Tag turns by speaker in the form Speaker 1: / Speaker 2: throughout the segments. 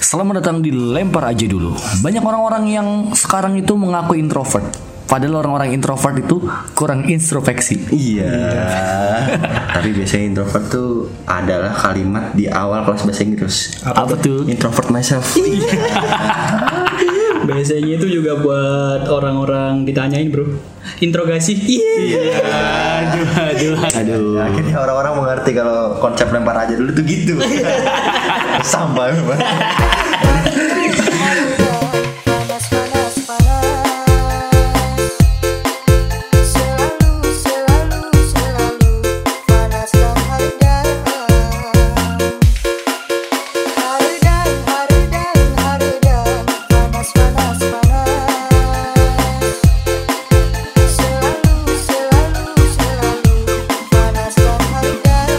Speaker 1: Selamat datang di Lempar Aja Dulu Banyak orang-orang yang sekarang itu mengaku introvert Padahal orang-orang introvert itu kurang introspeksi
Speaker 2: Iya. Tapi biasanya introvert tuh adalah kalimat di awal kelas bahasa Inggris.
Speaker 1: Apa, tuh?
Speaker 2: Introvert myself.
Speaker 3: Biasanya itu juga buat orang-orang ditanyain bro Interogasi Iya Aduh aduh
Speaker 2: Aduh. Akhirnya orang-orang mengerti kalau konsep lempar aja dulu tuh gitu. Sambal memang.
Speaker 4: Panas, panas, panas Selalu, selalu, selalu Panaskan hari dan Hari dan, hari dan, hari dan Panas, panas, panas Selalu, selalu, selalu Panaskan hari dan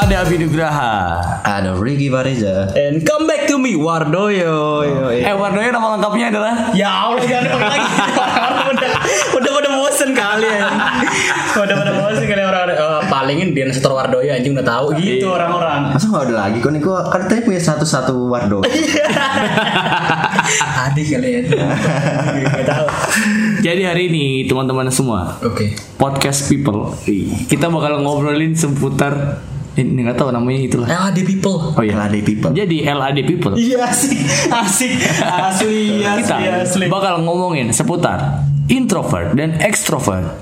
Speaker 1: Ada Abi Nugraha
Speaker 2: Ada Ricky Pareza.
Speaker 3: And come back to me Wardoyo yo, yo.
Speaker 1: Eh Wardoyo nama lengkapnya adalah
Speaker 3: Ya Allah jangan dipakai lagi Orang-orang udah, udah pada bosen kali ya Udah pada bosen kali orang eh, Palingin Dian Setor Wardoyo anjing udah tahu gitu orang-orang
Speaker 2: Masa nggak ada lagi? Kok Niko kan tadi punya satu satu wardo.
Speaker 3: Adik kali ya Gak tahu
Speaker 1: Jadi hari ini teman-teman semua
Speaker 3: Oke
Speaker 1: Podcast People Kita bakal ngobrolin seputar eh, Ini nggak tahu namanya itulah
Speaker 3: LAD people
Speaker 1: Oh iya
Speaker 2: LAD people.
Speaker 1: Jadi LAD People
Speaker 3: Iya asik Asik Asli
Speaker 1: kita bakal ngomongin seputar introvert dan extrovert.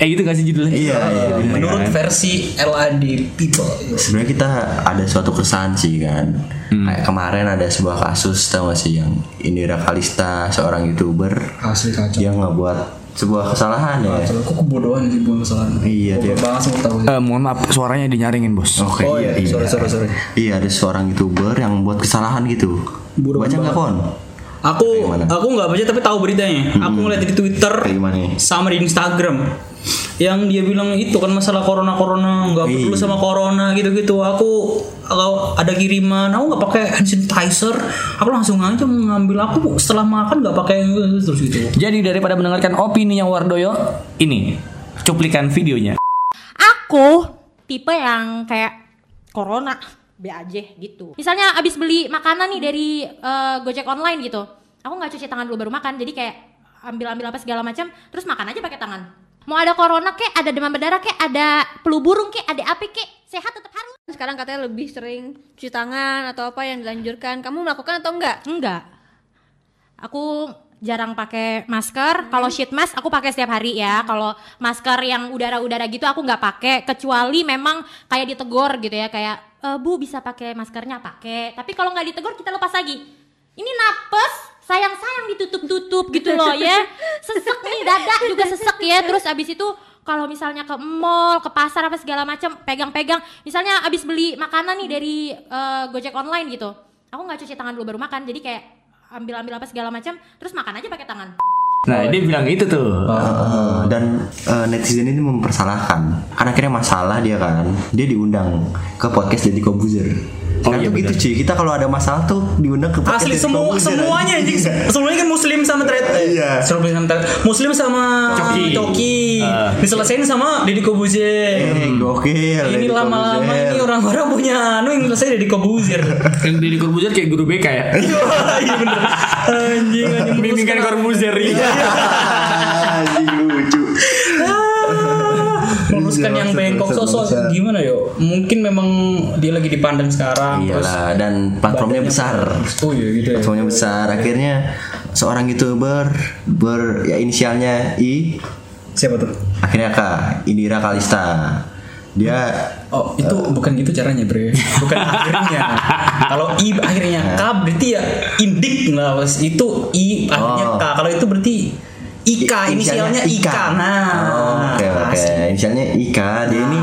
Speaker 1: Eh gitu gak sih judulnya?
Speaker 2: Iya, iya.
Speaker 1: Oh.
Speaker 3: Menurut versi LAD people
Speaker 2: Sebenarnya kita ada suatu kesan sih kan.
Speaker 1: Hmm.
Speaker 2: Kayak kemarin ada sebuah kasus tau gak sih yang Indira Kalista seorang youtuber
Speaker 3: Asli kacau.
Speaker 2: dia ngebuat sebuah kesalahan ya.
Speaker 3: Kacau. Kok kebodohan sih bukan kesalahan.
Speaker 2: Iya,
Speaker 3: Bodoh
Speaker 2: dia.
Speaker 3: banget semua tahu.
Speaker 1: Eh, mohon maaf suaranya dinyaringin bos.
Speaker 2: Oke,
Speaker 3: Oh iya, sorry sorry sorry.
Speaker 2: Iya, ada seorang youtuber yang buat kesalahan gitu.
Speaker 3: Buruk
Speaker 2: Baca nggak kon?
Speaker 3: Aku
Speaker 2: Gimana?
Speaker 3: aku nggak baca tapi tahu beritanya. Aku ngeliat di Twitter
Speaker 2: Kayak gimana ya?
Speaker 3: sama di Instagram. Yang dia bilang itu kan masalah corona corona nggak
Speaker 2: Iya.
Speaker 3: perlu sama corona gitu gitu. Aku kalau ada kiriman, aku nggak pakai hand sanitizer. Aku langsung aja mengambil aku setelah makan nggak pakai terus gitu.
Speaker 1: Jadi daripada mendengarkan opini yang Wardoyo, ini cuplikan videonya.
Speaker 5: Aku tipe yang kayak corona be aja gitu. Misalnya abis beli makanan nih dari eh, Gojek online gitu. Aku nggak cuci tangan dulu baru makan. Jadi kayak ambil-ambil apa segala macam terus makan aja pakai tangan. Mau ada corona kek, ada demam berdarah kek, ada flu burung kek, ada apa kek, sehat tetap harus.
Speaker 6: sekarang katanya lebih sering cuci tangan atau apa yang dilanjurkan kamu melakukan atau enggak
Speaker 5: Enggak. Aku jarang pakai masker. Kalau sheet mask aku pakai setiap hari ya. Kalau masker yang udara-udara gitu aku nggak pakai kecuali memang kayak ditegor gitu ya kayak e, Bu bisa pakai maskernya pakai. Tapi kalau nggak ditegor kita lepas lagi. Ini napes sayang-sayang ditutup-tutup gitu loh ya. Sesek nih dada juga sesek ya. Terus abis itu kalau misalnya ke mall, ke pasar apa segala macam pegang-pegang. Misalnya abis beli makanan nih dari eh, Gojek online gitu aku nggak cuci tangan dulu baru makan jadi kayak ambil ambil apa segala macam terus makan aja pakai tangan
Speaker 1: Nah dia bilang itu tuh.
Speaker 3: Ah,
Speaker 2: Eh, dan eh, netizen ini mempersalahkan. Kan akhirnya masalah dia kan. Dia diundang ke podcast jadi Kobuzer. Sekarang tuh gitu cuy. Kita kalau ada masalah tuh diundang ke podcast
Speaker 3: Oh, iya, Asli
Speaker 2: Deddy
Speaker 3: semua
Speaker 2: Corbuzier,
Speaker 3: semuanya anjing. Semuanya kan muslim sama thread.
Speaker 2: Iya.
Speaker 3: Semuanya sama thread. Muslim sama
Speaker 1: Coki.
Speaker 3: Coki. Diselesain sama Deddy Kobuzier.
Speaker 2: Eh, gokil.
Speaker 3: Ini
Speaker 2: Deddy
Speaker 3: lama-lama
Speaker 2: Corbuzier.
Speaker 3: ini orang-orang punya anu yang selesai Deddy Kobuzier.
Speaker 1: Yang di Corbuzier kayak guru BK ya.
Speaker 3: Iya bener. Anjing anjing.
Speaker 1: Bimbingan Corbuzier.
Speaker 7: iya.
Speaker 2: Anjing, lucu.
Speaker 3: Meluruskan Ah. yang bengkok sosok gimana yo? Mungkin memang dia lagi dipandang sekarang. terus
Speaker 2: Iyalah Iya dan platformnya besar.
Speaker 3: Oh iya gitu ya.
Speaker 2: Semuanya besar. Akhirnya seorang youtuber ber ya inisialnya I
Speaker 3: Siapa tuh?
Speaker 2: akhirnya K Indira Kalista. Dia
Speaker 3: Oh itu bukan gitu caranya bre Bukan akhirnya Kalau I akhirnya K berarti ya Indik lah Bos. Itu I akhirnya
Speaker 2: Oh.
Speaker 3: K Kalau itu berarti IK
Speaker 2: I-
Speaker 3: Inisialnya IK Nah
Speaker 2: Oh, Oke oke.
Speaker 3: asli.
Speaker 2: Inisialnya Ika. Dia ini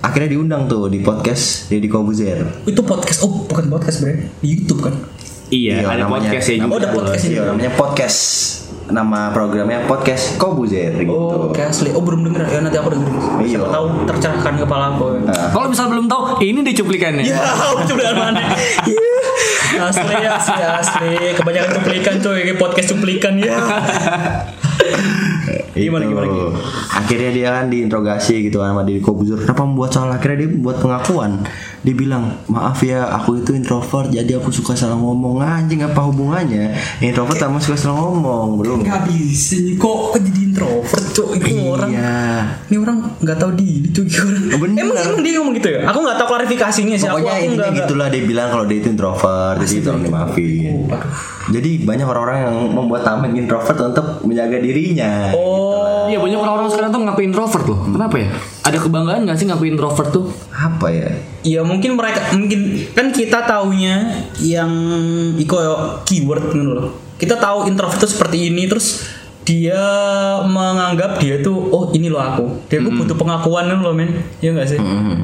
Speaker 2: akhirnya diundang tuh di podcast Deddy Kobuzer.
Speaker 3: Itu podcast Oh bukan podcast bre Di Youtube kan
Speaker 1: Iya, ada podcast ya
Speaker 3: Oh,
Speaker 1: juga.
Speaker 3: ada podcast.
Speaker 2: Iya, namanya podcast. Nama programnya podcast Kobuzer gitu.
Speaker 3: Oh oke asli Oh belum denger ya nanti aku denger
Speaker 2: Iya.
Speaker 3: Siapa tahu tercerahkan kepala aku
Speaker 1: Kalau misal belum tahu, ini deh cuplikannya.
Speaker 3: Ya udah mana Iya. Asli asli asli Kebanyakan cuplikan coy Podcast cuplikan ya Gimana,
Speaker 2: Itu.
Speaker 3: gimana, gimana?
Speaker 2: Gitu. Akhirnya dia kan diinterogasi gitu kan sama Deddy Kobuzer Kenapa membuat salah? Akhirnya dia buat pengakuan Dia bilang, maaf ya aku itu introvert Jadi aku suka salah ngomong Ah, Anjing apa hubungannya? Introvert sama suka salah ngomong Belum
Speaker 3: nggak bisa nih kok kok jadi introvert cok itu orang
Speaker 2: Iya
Speaker 3: ini orang nggak tahu diri tuh gitu orang
Speaker 2: Oh, bener.
Speaker 3: emang emang dia ngomong gitu ya aku nggak tahu klarifikasinya sih
Speaker 2: Pokoknya intinya
Speaker 3: aku, aku
Speaker 2: gitu.
Speaker 3: nggak- nggak-
Speaker 2: gitulah dia bilang kalau dia itu introvert Jadi tolong dimaafin
Speaker 3: Oh,
Speaker 2: Jadi banyak orang-orang yang membuat taman introvert Untuk menjaga dirinya
Speaker 3: oh
Speaker 7: Iya banyak orang-orang sekarang tuh ngaku introvert loh. Kenapa ya? Ada kebanggaan gak sih ngaku introvert tuh?
Speaker 2: Apa ya?
Speaker 3: Ya mungkin mereka mungkin kan kita taunya yang iko keyword gitu loh. Kita tahu introvert itu seperti ini terus dia menganggap dia tuh oh ini loh aku. Dia
Speaker 2: Hmm.
Speaker 3: aku butuh pengakuan gitu loh men. Ya enggak sih?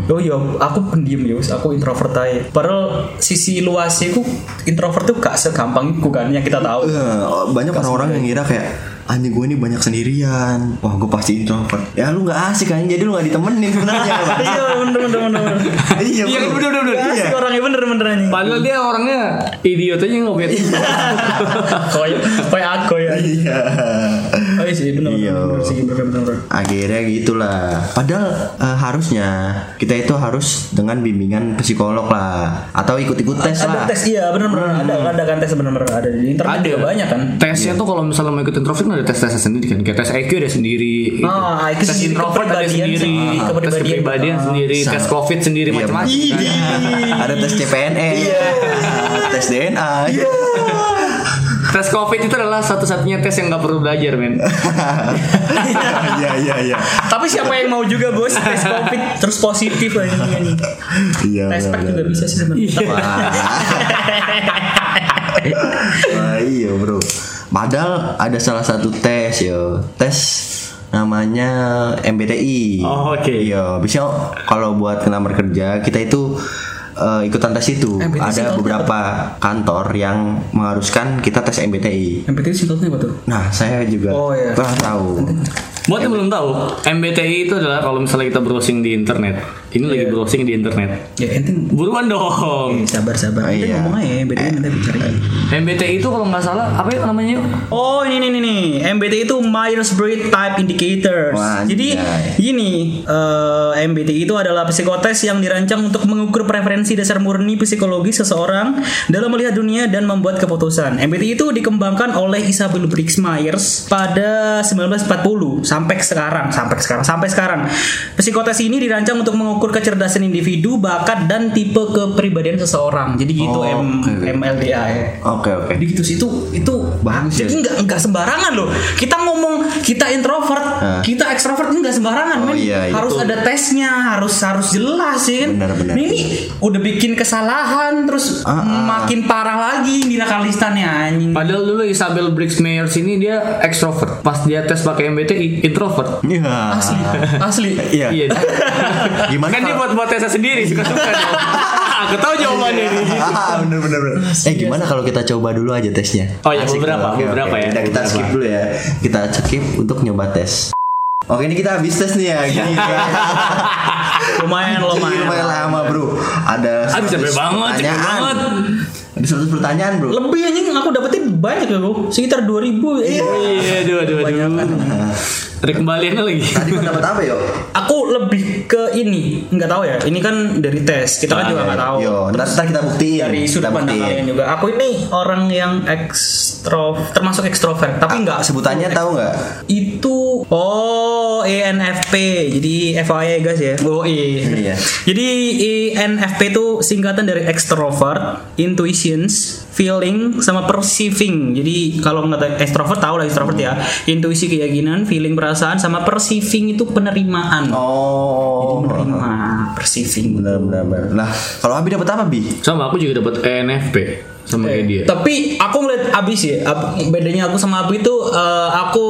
Speaker 3: Oh ya aku pendiam ya wis, aku introvert aja. Padahal sisi luasnya ku introvert tuh gak segampang itu kan yang kita tahu.
Speaker 2: Eh, banyak orang-orang yang ngira kayak anjing gue ini banyak sendirian wah gue pasti introvert ya lu nggak asik kan jadi lu nggak ditemenin sebenarnya
Speaker 3: Iya bener bener bener. bener.
Speaker 2: iya
Speaker 7: Iya,
Speaker 2: bro.
Speaker 7: bener, bener, bener.
Speaker 2: iya
Speaker 3: Asik orangnya bener bener anjing.
Speaker 7: Padahal dia orangnya idiot aja nggak punya teman.
Speaker 3: Kayak kayak aku ya.
Speaker 2: iya
Speaker 3: Oh iya sih bener
Speaker 2: Iya.
Speaker 3: bener, bener sih bener bener. bener.
Speaker 2: akhirnya gitulah padahal eh, harusnya kita itu harus dengan bimbingan psikolog lah atau ikut-ikut tes lah
Speaker 3: ada tes iya benar-benar ada
Speaker 2: Hmm.
Speaker 3: ada kan tes benar-benar ada di internet
Speaker 7: Ada.
Speaker 3: juga banyak kan
Speaker 7: Tesnya tuh kalau misalnya mau ikut introvert kan ada tes tesnya sendiri kan. Kayak tes IQ ada sendiri.
Speaker 3: Ah, IQ
Speaker 7: tes
Speaker 3: sendiri,
Speaker 7: introvert ada
Speaker 3: kepribadian
Speaker 7: sendiri. Ah, tes
Speaker 3: sendiri, kepribadian.
Speaker 7: kepribadian
Speaker 3: Ah,
Speaker 7: sendiri.
Speaker 2: sama.
Speaker 7: Tes COVID sendiri
Speaker 2: Iya,
Speaker 7: macam-macam.
Speaker 2: bener.
Speaker 7: kan.
Speaker 2: ada tes CPNS E. tes DNA
Speaker 7: Tes COVID itu adalah satu-satunya tes yang nggak perlu belajar men.
Speaker 2: iya iya iya
Speaker 3: tapi siapa yang mau juga bos tes covid terus positif aja ini
Speaker 2: iya
Speaker 3: tes pack
Speaker 2: bener.
Speaker 3: juga bisa sih sebenarnya
Speaker 2: Ah. Wah, iya bro. Padahal ada salah satu tes yo, tes namanya MBTI.
Speaker 7: Oh, oke.
Speaker 2: Yo, bisa Iya, kalau buat ngelamar kerja kita itu eh, ikutan tes itu.
Speaker 3: MBTI
Speaker 2: ada
Speaker 3: singkatnya
Speaker 2: beberapa kantor yang mengharuskan kita tes MBTI.
Speaker 3: MPT singkatnya apa tuh
Speaker 2: Nah, saya juga
Speaker 3: Oh, iya.
Speaker 2: pernah tahu.
Speaker 7: Buat yang belum tahu, MBTI itu adalah kalau misalnya kita browsing di internet. Ini lagi browsing di internet.
Speaker 3: ya ente
Speaker 7: Buruan dong.
Speaker 3: sabar sabar
Speaker 2: Ah,
Speaker 3: Ente
Speaker 2: iya.
Speaker 3: ngomong aja MBTI nanti aku cari
Speaker 7: MBTI itu kalau nggak salah apa ya namanya? yuk?
Speaker 3: Oh ini nih nih nih MBTI itu Myers Briggs Type Indicators.
Speaker 2: Wah,
Speaker 3: Jadi
Speaker 2: anjay.
Speaker 3: ini eh, MBTI itu adalah psikotes yang dirancang untuk mengukur preferensi dasar murni psikologi seseorang dalam melihat dunia dan membuat keputusan. MBTI itu dikembangkan oleh Isabel Briggs Myers pada 1940 sampai sekarang sampai sekarang sampai sekarang. Psikotes ini dirancang untuk mengukur kecerdasan individu, bakat dan tipe kepribadian seseorang. Jadi gitu
Speaker 2: Oh,
Speaker 3: M-
Speaker 2: oke.
Speaker 3: MLDI ya.
Speaker 2: Oke, oke.
Speaker 3: Jadi gitu sih itu itu
Speaker 2: Bagus ya.
Speaker 3: Jadi nggak nggak sembarangan loh. Kita ngomong kita introvert,
Speaker 2: Hah.
Speaker 3: kita ekstrovert nggak sembarangan,
Speaker 2: Oh,
Speaker 3: men.
Speaker 2: iya, iya.
Speaker 3: harus ada tesnya, harus harus jelas sih. kan.
Speaker 2: Benar, benar.
Speaker 3: Ini, ini udah bikin kesalahan terus
Speaker 2: Ah, ah.
Speaker 3: makin parah lagi dinakalistannya anjing.
Speaker 7: Padahal dulu Isabel Briggs Myers ini dia ekstrovert. Pas dia tes pakai MBTI introvert.
Speaker 2: Iya.
Speaker 3: Asli, asli.
Speaker 2: Iya.
Speaker 7: Iya.
Speaker 2: Gimana
Speaker 7: kan dia
Speaker 2: kalau-
Speaker 7: buat buat tesnya sendiri suka suka. Aku tahu jawabannya nih.
Speaker 2: Ah, bener bener bener. Eh gimana kalau kita coba dulu aja tesnya?
Speaker 7: Oh,
Speaker 3: iya,
Speaker 7: ya,
Speaker 2: Asik
Speaker 7: beberapa,
Speaker 2: tuh. Oke,
Speaker 7: beberapa
Speaker 2: oke.
Speaker 7: ya,
Speaker 2: Kita, kita
Speaker 7: beberapa.
Speaker 2: skip dulu ya. Kita skip untuk nyoba tes. Oke ini kita habis tes nih ya. Gini, ya.
Speaker 3: Lumayan
Speaker 2: Jadi
Speaker 3: lumayan.
Speaker 2: lumayan lama bro. Ada
Speaker 3: Ah,
Speaker 7: Aduh,
Speaker 2: 100
Speaker 7: capek banget, capek
Speaker 2: pertanyaan.
Speaker 7: banget.
Speaker 2: Ada 100 pertanyaan bro.
Speaker 3: Lebih anjing aku dapetin banyak ya bro, sekitar 2000 Iya.
Speaker 7: Iya, dua dua dua. Ada kembaliannya lagi.
Speaker 2: Tadi kau dapat apa yo?
Speaker 3: Aku lebih ke ini, nggak tahu ya. Ini kan dari tes,
Speaker 2: Iya,
Speaker 3: kita kan juga nggak tahu.
Speaker 2: Yo, ntar, ntar kita buktiin.
Speaker 3: dari
Speaker 2: Iya, kita
Speaker 3: sudut pandang
Speaker 2: buktiin.
Speaker 3: kalian juga. Aku ini orang yang ekstro, termasuk ekstrovert, tapi
Speaker 2: Enggak,
Speaker 3: nggak
Speaker 2: sebutannya tahu nggak?
Speaker 3: itu oh ENFP jadi FYI guys ya oh
Speaker 2: Iya.
Speaker 3: iya jadi ENFP itu singkatan dari extrovert intuitions feeling sama perceiving jadi kalau nggak extrovert tahu lah extrovert ya intuisi keyakinan feeling perasaan sama perceiving itu penerimaan
Speaker 2: Oh,
Speaker 3: penerima perceiving
Speaker 2: benar benar benar. Nah, kalau Abi dapat apa bi?
Speaker 7: Sama aku juga E dapat ENFP sama kayak
Speaker 3: Iya.
Speaker 7: dia.
Speaker 3: Tapi aku ngeliat abis ya, Ab- bedanya aku sama Abi itu eh, aku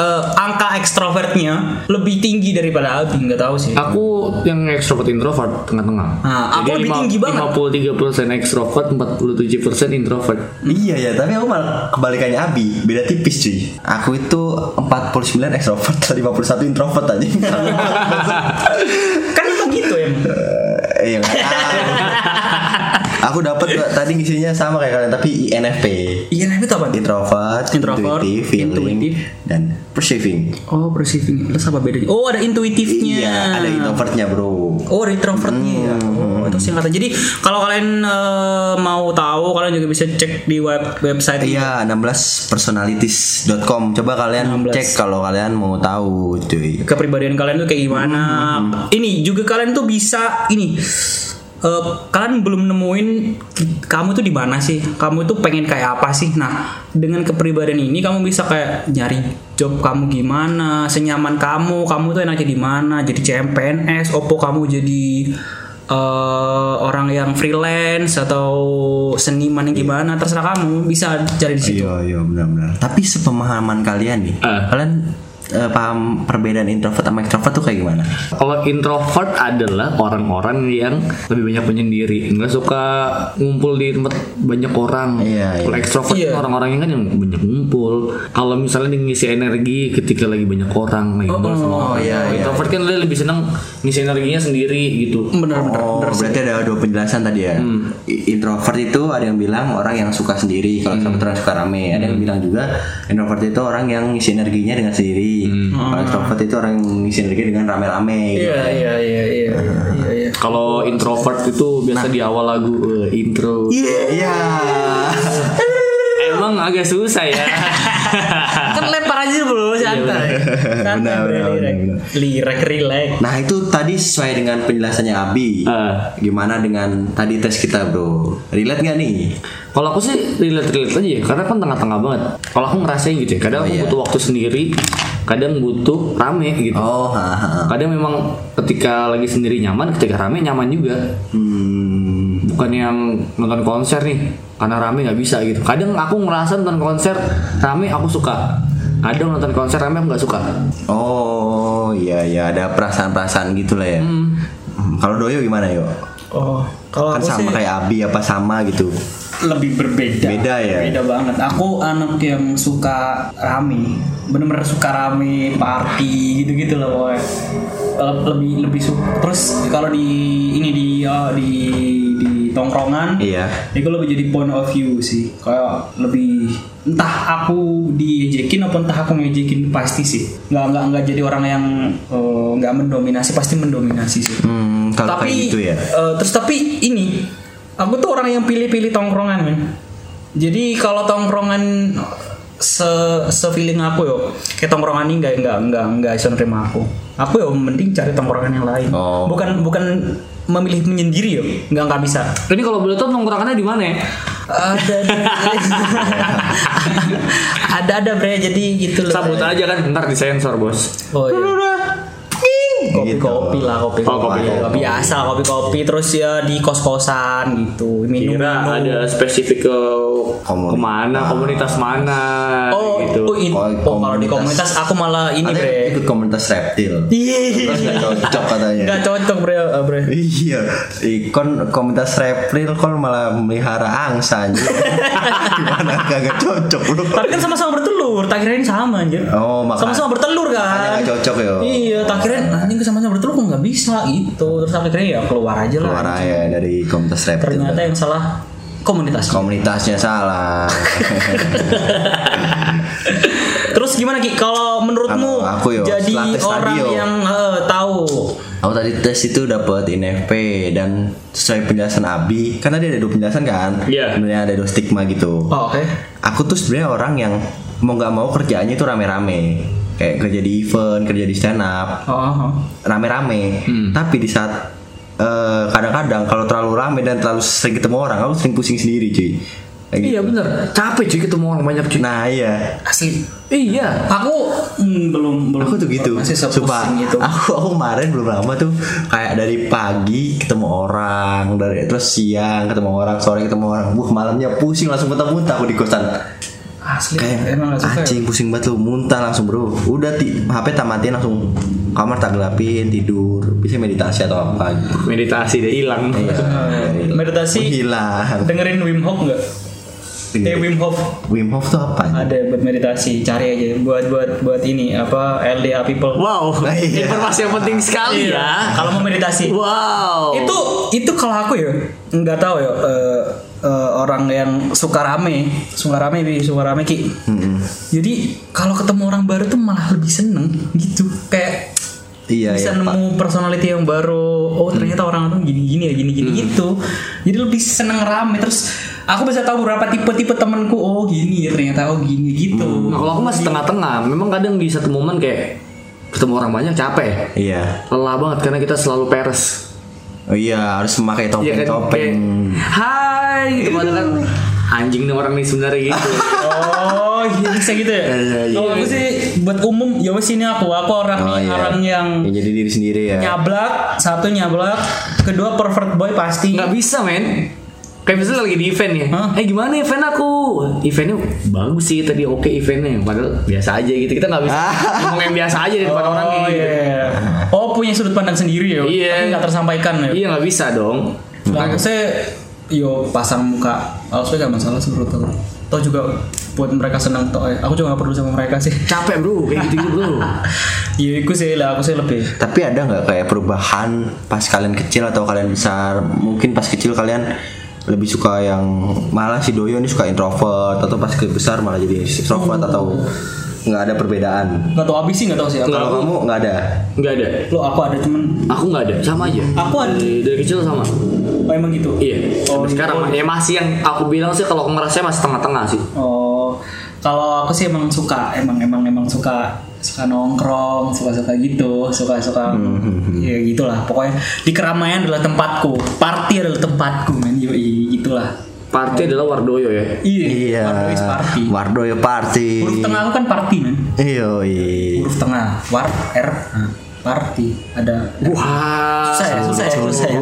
Speaker 3: eh, angka ekstrovertnya lebih tinggi daripada Abi, nggak tahu sih.
Speaker 7: Aku yang ekstrovert introvert tengah-tengah.
Speaker 3: Nah, aku lebih tinggi banget.
Speaker 7: 53% ekstrovert, 47% introvert.
Speaker 2: Iya ya, tapi aku malah kebalikannya Abi, beda tipis cuy. Aku itu 49 extrovert, 51 introvert Eh, aja.
Speaker 3: kan itu gitu ya.
Speaker 2: Eh, Iya. nggak tahu. Aku dapat Mbak, tadi ngisinya sama kayak kalian tapi INFP.
Speaker 3: Iya, nah itu apa?
Speaker 2: Introvert,
Speaker 3: Introvert,
Speaker 2: intuitive, feeling,
Speaker 3: intuitive.
Speaker 2: dan perceiving.
Speaker 3: Oh, perceiving. Terus apa bedanya? Oh, ada intuitifnya.
Speaker 2: Iya, ada introvertnya, Bro.
Speaker 3: Oh, ada introvertnya. Oh, itu singkatan. Jadi, kalau kalian eh, mau tahu, kalian juga bisa cek di web website
Speaker 2: Iya, 16personalities.com. Coba kalian
Speaker 3: 16.
Speaker 2: cek kalau kalian mau tahu, cuy.
Speaker 3: kepribadian kalian tuh kayak gimana. Ini juga kalian tuh bisa ini. eh, kalian belum nemuin ki- kamu tuh di mana sih? Kamu tuh pengen kayak apa sih? Nah, dengan kepribadian ini kamu bisa kayak nyari job kamu gimana, senyaman kamu, kamu tuh enaknya di mana? Jadi CMPNS, opo kamu jadi eh, orang yang freelance atau seniman yang gimana terserah kamu bisa cari di situ.
Speaker 2: Iya, iya, benar-benar. Tapi sepemahaman kalian nih, kalian eh, paham perbedaan introvert sama extrovert tuh kayak gimana?
Speaker 7: Kalau introvert adalah orang-orang yang lebih banyak menyendiri, nggak suka ngumpul di tempat banyak orang.
Speaker 2: Iya,
Speaker 7: Kalau
Speaker 2: iya.
Speaker 7: extrovert
Speaker 3: Iya.
Speaker 7: orang-orangnya kan yang banyak ngumpul. Kalau misalnya dia ngisi energi ketika lagi banyak orang, lagi ngobrol sama orang.
Speaker 2: iya,
Speaker 7: Kalau
Speaker 2: iya.
Speaker 7: introvert kan dia lebih senang ngisi energinya sendiri gitu.
Speaker 3: Benar-benar.
Speaker 2: Oh, berarti ada dua penjelasan tadi ya. I- Introvert itu ada yang bilang orang yang suka sendiri, kalau extrovert orang yang suka rame. Ada yang bilang juga introvert itu orang yang ngisi energinya dengan sendiri. Kalau extrovert itu orang yang ngisi energi dengan rame-rame. gitu.
Speaker 3: iya, iya, iya, iya, iya.
Speaker 7: Kalau introvert itu biasa
Speaker 2: Nah.
Speaker 7: di awal lagu eh, intro.
Speaker 2: Iya.
Speaker 7: Emang agak susah ya.
Speaker 3: kan lempar aja dulu santai
Speaker 2: Iya,
Speaker 3: santai
Speaker 2: Benar,
Speaker 3: bre,
Speaker 2: benar,
Speaker 3: lirek.
Speaker 2: benar,
Speaker 3: lirek relax
Speaker 2: Nah itu tadi sesuai dengan penjelasannya Abi.
Speaker 7: Eh.
Speaker 2: Gimana dengan tadi tes kita bro? Relate nggak nih?
Speaker 7: Kalau aku sih relate-relate aja ya, karena kan tengah-tengah banget. Kalau aku ngerasain gitu ya,
Speaker 2: Oh,
Speaker 7: kadang aku
Speaker 2: iya.
Speaker 7: butuh waktu sendiri, kadang butuh rame gitu.
Speaker 2: Oh, haha.
Speaker 7: Kadang memang ketika lagi sendiri nyaman, ketika rame nyaman juga.
Speaker 2: Hmm.
Speaker 7: Bukan yang nonton konser nih, karena rame nggak bisa gitu. Kadang aku ngerasa nonton konser rame aku suka. Kadang nonton konser rame aku nggak suka.
Speaker 2: Oh iya iya ada perasaan-perasaan gitu lah ya. Hmm, Kalau Doyo gimana yo?
Speaker 3: oh kalau
Speaker 2: Kan
Speaker 3: aku sih Hmm.
Speaker 2: sama kayak Abi apa sama gitu.
Speaker 3: lebih berbeda
Speaker 2: Beda ya?
Speaker 3: beda banget aku anak yang suka rame bener-bener suka rame party gitu gitu loh pokoknya Le- lebih lebih suka terus kalau di ini di oh, di di tongkrongan
Speaker 2: Iya.
Speaker 3: Ini gue lebih jadi point of view sih Kayak lebih Entah aku diejekin apa entah aku ngejekin Pasti sih Nggak, nggak, nggak jadi orang yang eh, nggak mendominasi Pasti mendominasi sih
Speaker 2: Hmm, kalau
Speaker 3: Tapi
Speaker 2: kayak gitu ya.
Speaker 3: eh, Terus tapi ini Aku tuh orang yang pilih-pilih tongkrongan men Jadi kalau tongkrongan se feeling aku yo kayak tongkrongan ini nggak nggak nggak nggak bisa nerima aku aku yo mending cari tongkrongan yang lain
Speaker 2: Oh.
Speaker 3: bukan bukan memilih menyendiri yo nggak nggak bisa
Speaker 7: Ini kalau boleh tahu nongkrongannya di mana ya?
Speaker 3: ada ada ada bre jadi gitu loh
Speaker 7: Sabut aja kan, ntar disensor bos.
Speaker 3: oh, iya. kopi
Speaker 2: Gitu.
Speaker 3: kopi lah kopi
Speaker 7: Oh, kopi.
Speaker 3: kopi biasa kopi kopi terus ya di kos kosan gitu minum
Speaker 7: Kira
Speaker 3: minum
Speaker 7: ada spesifik ke
Speaker 2: Komunitas.
Speaker 7: kemana, komunitas mana
Speaker 3: oh,
Speaker 7: gitu.
Speaker 3: oh, in-
Speaker 2: Kalau
Speaker 3: oh, kalau di komunitas aku malah ini
Speaker 2: Ada
Speaker 3: bre
Speaker 2: yang ikut komunitas reptil.
Speaker 3: iya
Speaker 2: Terus nggak cocok katanya.
Speaker 3: nggak cocok bre eh, bre
Speaker 2: Iya, ikon komunitas reptil kon malah melihara angsa anjir. Gimana kagak cocok bro?
Speaker 3: tapi kan sama-sama bertelur takirain sama anjir
Speaker 2: Oh, makanya-
Speaker 3: sama-sama bertelur
Speaker 2: makanya
Speaker 3: kan
Speaker 2: nggak cocok, yo.
Speaker 3: iya takirain anjing sama-sama bertelur kok nggak bisa gitu terus akhirnya ya keluar aja lah
Speaker 2: Keluar aja dari komunitas reptil.
Speaker 3: ternyata iya. yang salah komunitas
Speaker 2: komunitasnya salah.
Speaker 3: terus gimana ki kalau menurutmu
Speaker 2: Kalau aku ya,
Speaker 3: jadi
Speaker 2: setelah tes
Speaker 3: orang
Speaker 2: tadi, yo.
Speaker 3: yang eh, tahu
Speaker 2: Aku tadi tes itu dapat INFP dan sesuai penjelasan Abi, karena dia ada dua penjelasan kan.
Speaker 7: Iya.
Speaker 2: Sebenarnya ada dua stigma gitu.
Speaker 3: oh, oke
Speaker 2: Aku tuh sebenarnya orang yang mau nggak mau kerjaannya itu rame-rame. Kayak kerja di event, kerja di stand up,
Speaker 3: Oh, oh, oh.
Speaker 2: rame-rame.
Speaker 7: Hmm.
Speaker 2: Tapi di saat eh, kadang-kadang kalau terlalu rame dan terlalu sering ketemu orang, aku sering pusing sendiri, cuy. Kayak gitu.
Speaker 7: Iya bener, capek cuy ketemu orang banyak cuy.
Speaker 2: Nah, iya.
Speaker 3: asli
Speaker 7: Iya.
Speaker 3: aku mm, belum belum
Speaker 2: aku tuh gitu
Speaker 3: masih
Speaker 2: Sumpah, Ah,
Speaker 3: sepusing itu
Speaker 2: aku aku kemarin belum lama tuh kayak dari pagi ketemu orang dari terus siang ketemu orang sore ketemu orang buh malamnya pusing langsung muntah-muntah aku di kosan
Speaker 3: asli
Speaker 2: kayak
Speaker 3: emang gak suka ya?
Speaker 2: anjing pusing banget lu muntah langsung bro udah ti- HP tamatin langsung kamar tak gelapin tidur bisa meditasi atau apa gitu
Speaker 7: Meditasi dia hilang.
Speaker 2: Iya,
Speaker 3: Eh, meditasi-
Speaker 2: hilang Iya.
Speaker 3: ya? dengerin Wim Hof nggak Kayak Wim Hof
Speaker 2: Wim Hof tuh apa? ya?
Speaker 3: ada buat meditasi, cari aja buat buat buat ini apa LDA people.
Speaker 8: Wow,
Speaker 2: Iya.
Speaker 8: informasi yang penting
Speaker 7: Iya.
Speaker 8: sekali ya.
Speaker 3: iya. Kalau mau meditasi.
Speaker 2: Oh.
Speaker 8: Wow.
Speaker 3: itu itu kalau aku ya nggak tahu ya eh, eh, orang yang suka rame suka rame bi suka rame ki jadi kalau ketemu orang baru tuh malah lebih seneng gitu kayak
Speaker 2: Iya
Speaker 3: bisa
Speaker 2: ya. Pak.
Speaker 3: nemu personality yang baru oh ternyata orang tuh gini gini ya gini gini gitu jadi lebih seneng rame terus aku bisa tahu berapa tipe tipe temanku oh gini ya ternyata oh gini gitu
Speaker 2: Mm,
Speaker 7: Nah, kalau aku masih tengah-tengah, memang kadang di satu momen kayak ketemu orang banyak capek,
Speaker 2: Iya.
Speaker 7: lelah banget karena kita selalu peres.
Speaker 2: Oh iya harus memakai
Speaker 7: Iya kan?
Speaker 2: topeng-topeng.
Speaker 7: Kayak, Hai, gitu padahal kan anjing nih orang nih sebenarnya gitu.
Speaker 3: Oh, iya bisa gitu ya?
Speaker 2: Iya, iya.
Speaker 3: Kalau aku sih buat umum, ya wes ini aku, aku orang
Speaker 2: Oh,
Speaker 3: nih,
Speaker 2: iya.
Speaker 3: orang yang
Speaker 2: Ya, jadi diri sendiri ya.
Speaker 3: nyablak, satu nyablak, kedua pervert boy pasti.
Speaker 7: Nggak bisa men. Kayak misalnya lagi di event ya,
Speaker 3: Hah?
Speaker 7: eh gimana event aku? Eventnya bagus sih tadi oke eventnya, padahal biasa aja gitu. Kita nggak bisa ngomong yang biasa aja di depan orang
Speaker 3: Oh
Speaker 7: gitu.
Speaker 3: iya. Oh punya sudut pandang sendiri ya?
Speaker 7: Iya.
Speaker 3: Tapi nggak tersampaikan ya?
Speaker 7: Iya nggak bisa dong.
Speaker 3: Nah, aku sih, yo pasang muka, harusnya nggak masalah sih menurut aku. Toh juga buat mereka senang toh. ya. Aku juga nggak perlu sama mereka sih.
Speaker 7: Capek bro, kayak gitu gitu bro.
Speaker 3: Iya, aku sih lah, aku sih lebih.
Speaker 2: Tapi ada nggak kayak perubahan pas kalian kecil atau kalian besar? Mungkin pas kecil kalian lebih suka yang malah si Doyo ini suka introvert atau pas ke besar malah jadi extrovert
Speaker 3: Hmm.
Speaker 2: atau nggak ada perbedaan?
Speaker 3: Nggak tahu abis sih, nggak tahu sih. Aku,
Speaker 2: Kalau kamu nggak ada.
Speaker 7: Nggak ada.
Speaker 3: lo aku ada temen.
Speaker 7: Aku nggak ada, sama aja.
Speaker 3: Aku ada.
Speaker 7: Dari, dari kecil sama.
Speaker 3: Oh emang gitu.
Speaker 7: Iya.
Speaker 3: Oh,
Speaker 7: Sampai sekarang ya
Speaker 3: iya.
Speaker 7: masih yang aku bilang sih kalau aku ngerasa masih tengah-tengah sih.
Speaker 3: Oh, kalau aku sih emang suka, emang emang emang suka suka nongkrong, suka suka gitu, suka suka
Speaker 2: Mm-hmm.
Speaker 3: ya gitulah. Pokoknya di keramaian adalah tempatku, party adalah tempatku, men yoi gitulah. Oh.
Speaker 7: Party adalah Wardoyo ya.
Speaker 3: Iya, Wardoyo is party.
Speaker 2: Wardoyo party.
Speaker 3: Huruf tengah aku kan party, men.
Speaker 2: Iya. iya.
Speaker 3: Huruf tengah, war, r, nah, party. Ada
Speaker 7: Wah.
Speaker 3: susah ya, susah ya, susah ya.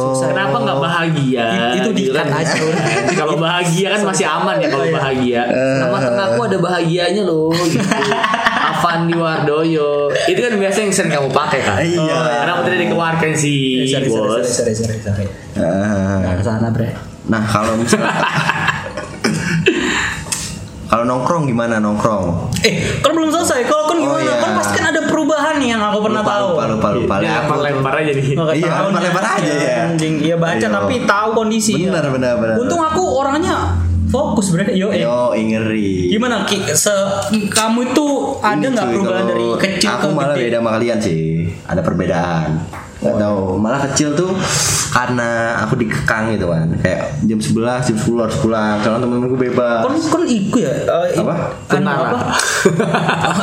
Speaker 3: Susah.
Speaker 7: Kenapa nggak bahagia?
Speaker 3: It- itu
Speaker 7: Gitu
Speaker 3: di-cut
Speaker 7: kan?
Speaker 3: aja. Oh, iya. Eh.
Speaker 7: kalau bahagia kan masih aman ya kalau bahagia. Nama tengah aku ada bahagianya loh. Gitu. Avandi Wardoyo. Itu kan biasa yang sering kamu pakai kan?
Speaker 2: Iya.
Speaker 7: Karena aku tadi dikeluarkan sih,
Speaker 3: Iya, Sorry, sorry, sorry,
Speaker 7: bos.
Speaker 3: sorry, sorry, sorry.
Speaker 2: Ah.
Speaker 3: Ke sana, bre.
Speaker 2: Nah kalau misalnya kalau nongkrong gimana nongkrong?
Speaker 3: Eh, kan belum selesai. Kalau kan
Speaker 2: Oh,
Speaker 3: gimana?
Speaker 2: iya.
Speaker 3: Kan pasti kan ada perubahan nih yang aku pernah
Speaker 2: lupa,
Speaker 3: tahu. Iya,
Speaker 2: lupa lupa lupa.
Speaker 7: Ya,
Speaker 2: Aku-
Speaker 7: lempar aja nih.
Speaker 3: Nggak
Speaker 2: Iya,
Speaker 3: tahu nih.
Speaker 2: lempar-lempar aja ya.
Speaker 3: Anjing, iya baca
Speaker 2: Ayo.
Speaker 3: tapi tahu kondisi.
Speaker 2: Benar,
Speaker 3: ya.
Speaker 2: benar, benar.
Speaker 3: Untung aku orangnya fokus, Bre. Yo, eh.
Speaker 2: Yo ngeri.
Speaker 3: Gimana Ki? Se- kamu itu ada nggak
Speaker 2: Iya, Cuy,
Speaker 3: perubahan dari
Speaker 2: kalau
Speaker 3: kecil
Speaker 2: aku
Speaker 3: ke
Speaker 2: malah
Speaker 3: gede?
Speaker 2: beda sama kalian sih ada perbedaan nggak tahu malah kecil tuh karena aku dikekang gitu kan kayak jam 11 jam 10 harus pulang kalau temen-temenku bebas
Speaker 3: Kon kon iku ya. eh, i-
Speaker 2: Apa?
Speaker 3: anu apa?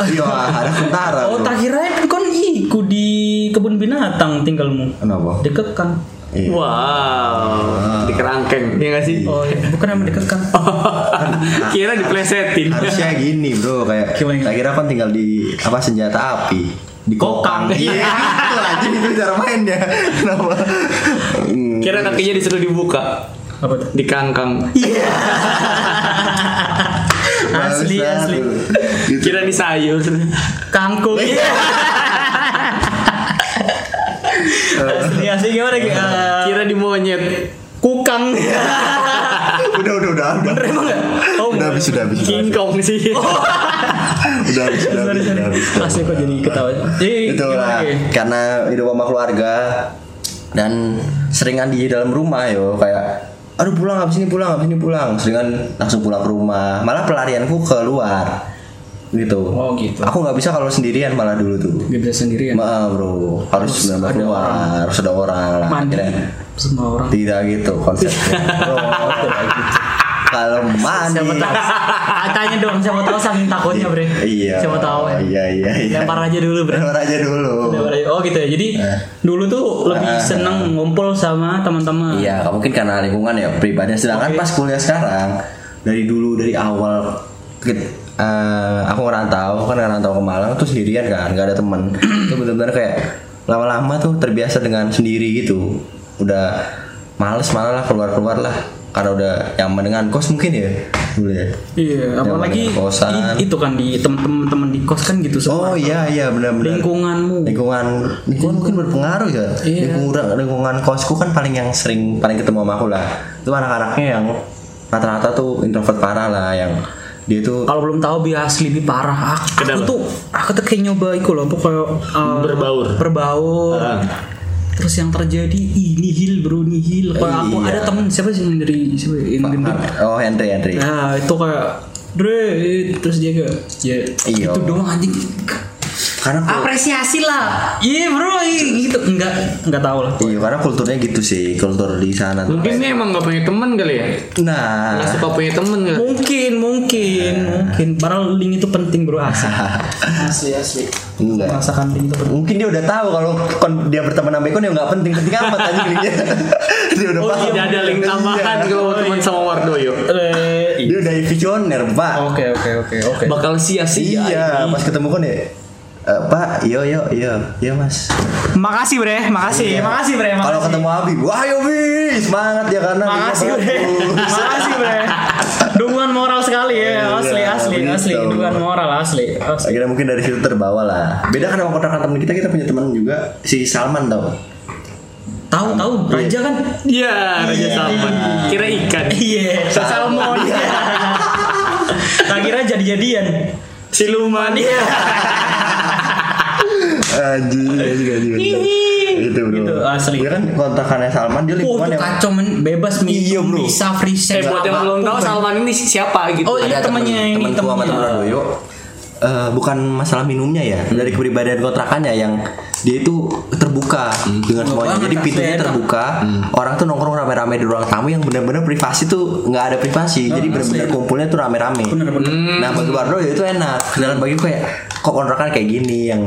Speaker 2: iya ada tentara
Speaker 3: Oh,
Speaker 2: bro.
Speaker 3: tak kirain kon iku di kebun binatang tinggalmu. kan?
Speaker 2: kenapa
Speaker 3: Dekekang.
Speaker 2: Iya.
Speaker 7: Wow, di kerangkeng, iya gak sih?
Speaker 3: Oh, Ah. iya. bukan emang Oh, dekekang.
Speaker 7: Kira diplesetin.
Speaker 2: harusnya gini bro kayak
Speaker 3: Gimana, gimana?
Speaker 2: tak kira kan tinggal di apa senjata api di kokang
Speaker 7: Kokang.
Speaker 2: iya gitu aja itu cara mainnya kenapa Hmm,
Speaker 7: Kira kakinya disuruh dibuka,
Speaker 3: Apa tuh?
Speaker 7: di kangkang.
Speaker 3: asli
Speaker 2: barusan,
Speaker 3: asli.
Speaker 2: bro. Gitu.
Speaker 7: Kira di sayur.
Speaker 3: Kangkung.
Speaker 2: Iya.
Speaker 3: asli asli gimana
Speaker 2: Iya.
Speaker 3: Ki? Eh,
Speaker 7: Kira di monyet.
Speaker 3: kukang
Speaker 2: udah udah udah udah
Speaker 3: emang nggak? oh
Speaker 2: udah habis udah habis udah habis.
Speaker 7: Kingkong sih.
Speaker 2: udah habis udah
Speaker 3: sorry
Speaker 2: habis,
Speaker 3: sorry
Speaker 2: udah habis
Speaker 3: asli kok jadi ketawa jadi
Speaker 2: itu
Speaker 3: gimana, ya?
Speaker 2: lah
Speaker 3: Ki?
Speaker 2: karena hidup sama keluarga dan seringan di dalam rumah yo kayak aduh pulang habis ini pulang habis ini pulang seringan langsung pulang ke rumah malah pelarianku keluar gitu
Speaker 3: Oh, gitu.
Speaker 2: aku nggak bisa kalau sendirian malah dulu tuh
Speaker 3: Gak bisa sendirian
Speaker 2: maaf bro harus benar
Speaker 3: ada
Speaker 2: keluar
Speaker 3: orang.
Speaker 2: harus ada orang lah
Speaker 3: mandi
Speaker 2: Akhirnya
Speaker 3: semua orang
Speaker 2: tidak gitu konsepnya bro tidak gitu kalau mandi
Speaker 3: siapa tahu Ah, tanya dong siapa tahu saking takutnya bre
Speaker 2: iya
Speaker 3: siapa tahu ya
Speaker 2: iya iya iya
Speaker 3: lempar aja dulu bre
Speaker 2: lempar aja dulu
Speaker 3: Lempar aja. oh gitu ya jadi
Speaker 2: Eh.
Speaker 3: dulu tuh lebih
Speaker 2: Ah.
Speaker 3: seneng ngumpul sama teman-teman
Speaker 2: Iya, mungkin karena lingkungan ya pribadi. Sedangkan pas kuliah sekarang dari dulu dari awal ke- eh, aku ngerantau kan ngerantau ke Malang tuh sendirian kan, nggak ada temen. itu benar-benar kayak lama-lama tuh terbiasa dengan sendiri gitu. Udah males malah lah keluar-keluar lah karena udah nyaman dengan kos mungkin ya dulu ya.
Speaker 3: Iya, apalagi
Speaker 2: dengan kosan.
Speaker 3: i- itu kan di teman-teman di kos kan gitu
Speaker 2: Oh
Speaker 3: semua.
Speaker 2: iya iya benar-benar.
Speaker 3: lingkunganmu.
Speaker 2: lingkungan lingkungan mungkin berpengaruh ya
Speaker 3: Iya.
Speaker 2: lingkungan lingkungan kosku kan paling yang sering paling ketemu sama aku lah itu anak-anaknya yang rata-rata tuh introvert parah lah yang dia tuh
Speaker 3: Kalau belum tahu bias lebih parah. Ah, Aku, aku
Speaker 7: Kenapa?
Speaker 3: tuh aku tuh kayak nyoba iku loh, pokoknya eh,
Speaker 7: Berbaur.
Speaker 3: Berbaur.
Speaker 7: Ah.
Speaker 3: Terus yang terjadi ih nihil bro nihil. Kalau aku
Speaker 2: Iya.
Speaker 3: ada temen siapa sih yang dari siapa ya, yang dari-
Speaker 2: oh Henry Henry
Speaker 3: Nah itu kayak Dre terus dia kayak ya
Speaker 2: Iya.
Speaker 3: itu doang anjing
Speaker 2: karena kul-
Speaker 3: apresiasi lah iya bro i- gitu enggak enggak tahu lah
Speaker 2: iya karena kulturnya gitu sih kultur di sana tuh.
Speaker 7: Mungkin dia emang gak punya temen kali ya
Speaker 2: nah
Speaker 7: Gak suka punya temen kali
Speaker 3: mungkin mungkin mungkin padahal link itu penting bro asli asli asli
Speaker 2: Enggak.
Speaker 3: merasakan link itu penting
Speaker 2: mungkin dia udah tahu kalau kon- dia berteman sama Icon ya nggak penting penting amat anjing linknya dia udah paham
Speaker 7: Tidak iya, ada link tambahan
Speaker 2: Iya.
Speaker 7: kalau teman sama Wardoyo
Speaker 3: Eh,
Speaker 2: dia udah visioner pak
Speaker 3: oke oke oke oke
Speaker 7: Bakal sia-sia
Speaker 2: iya pas ketemu kon ya "Eh, pak, yo yo yo, yo iya, mas. Ya.
Speaker 3: makasih bre makasih Iya, makasih bre makasih
Speaker 2: Iya. Kalau ketemu Abi, wah yo bi, semangat ya karena linknya
Speaker 3: makasih bre
Speaker 2: bagus."
Speaker 3: makasih bre dukungan moral sekali ya asli
Speaker 2: Iya,
Speaker 3: asli
Speaker 2: begitu.
Speaker 3: asli dukungan moral asli asli
Speaker 2: Akhirnya mungkin dari situ terbawa lah. Beda kan sama kontrakan teman kita, kita punya teman juga si Salman tau.
Speaker 3: tahu tahu raja kan
Speaker 7: Iya Raja Salman Kira ikan
Speaker 3: iya salmon tak kira jadi-jadian
Speaker 7: Siluman
Speaker 2: Iya. Anjing, anjing, anjing. anjing. Gitu bro.
Speaker 3: Gitu, asli.
Speaker 2: Dia kan kontrakannya Salman, dia
Speaker 3: Oh,
Speaker 2: lingkungan
Speaker 3: itu
Speaker 2: yang
Speaker 3: kacau men bebas mi
Speaker 2: Iya, bro.
Speaker 3: bisa free
Speaker 7: Eh
Speaker 3: sex
Speaker 7: buat yang
Speaker 3: apa.
Speaker 7: belum tahu Salman ini siapa gitu
Speaker 3: Oh, iya,
Speaker 2: ada temen-
Speaker 3: temennya yang ini,
Speaker 2: temenku sama
Speaker 3: temennya.
Speaker 2: temen Radoyo Eh, bukan masalah minumnya ya
Speaker 3: Hmm.
Speaker 2: dari kepribadian kontrakannya yang dia itu terbuka
Speaker 3: Hmm.
Speaker 2: dengan semuanya
Speaker 3: banget,
Speaker 2: jadi
Speaker 3: asli
Speaker 2: pintunya
Speaker 3: enak.
Speaker 2: terbuka
Speaker 3: Hmm.
Speaker 2: orang tuh nongkrong rame-rame di ruang tamu yang benar-benar privasi tuh nggak ada
Speaker 3: Oh,
Speaker 2: privasi jadi benar-benar kumpulnya tuh rame-rame
Speaker 3: Hmm.
Speaker 2: nah bagi Wardoyo itu enak dalam bagi gue kayak kok kontrakan kayak gini yang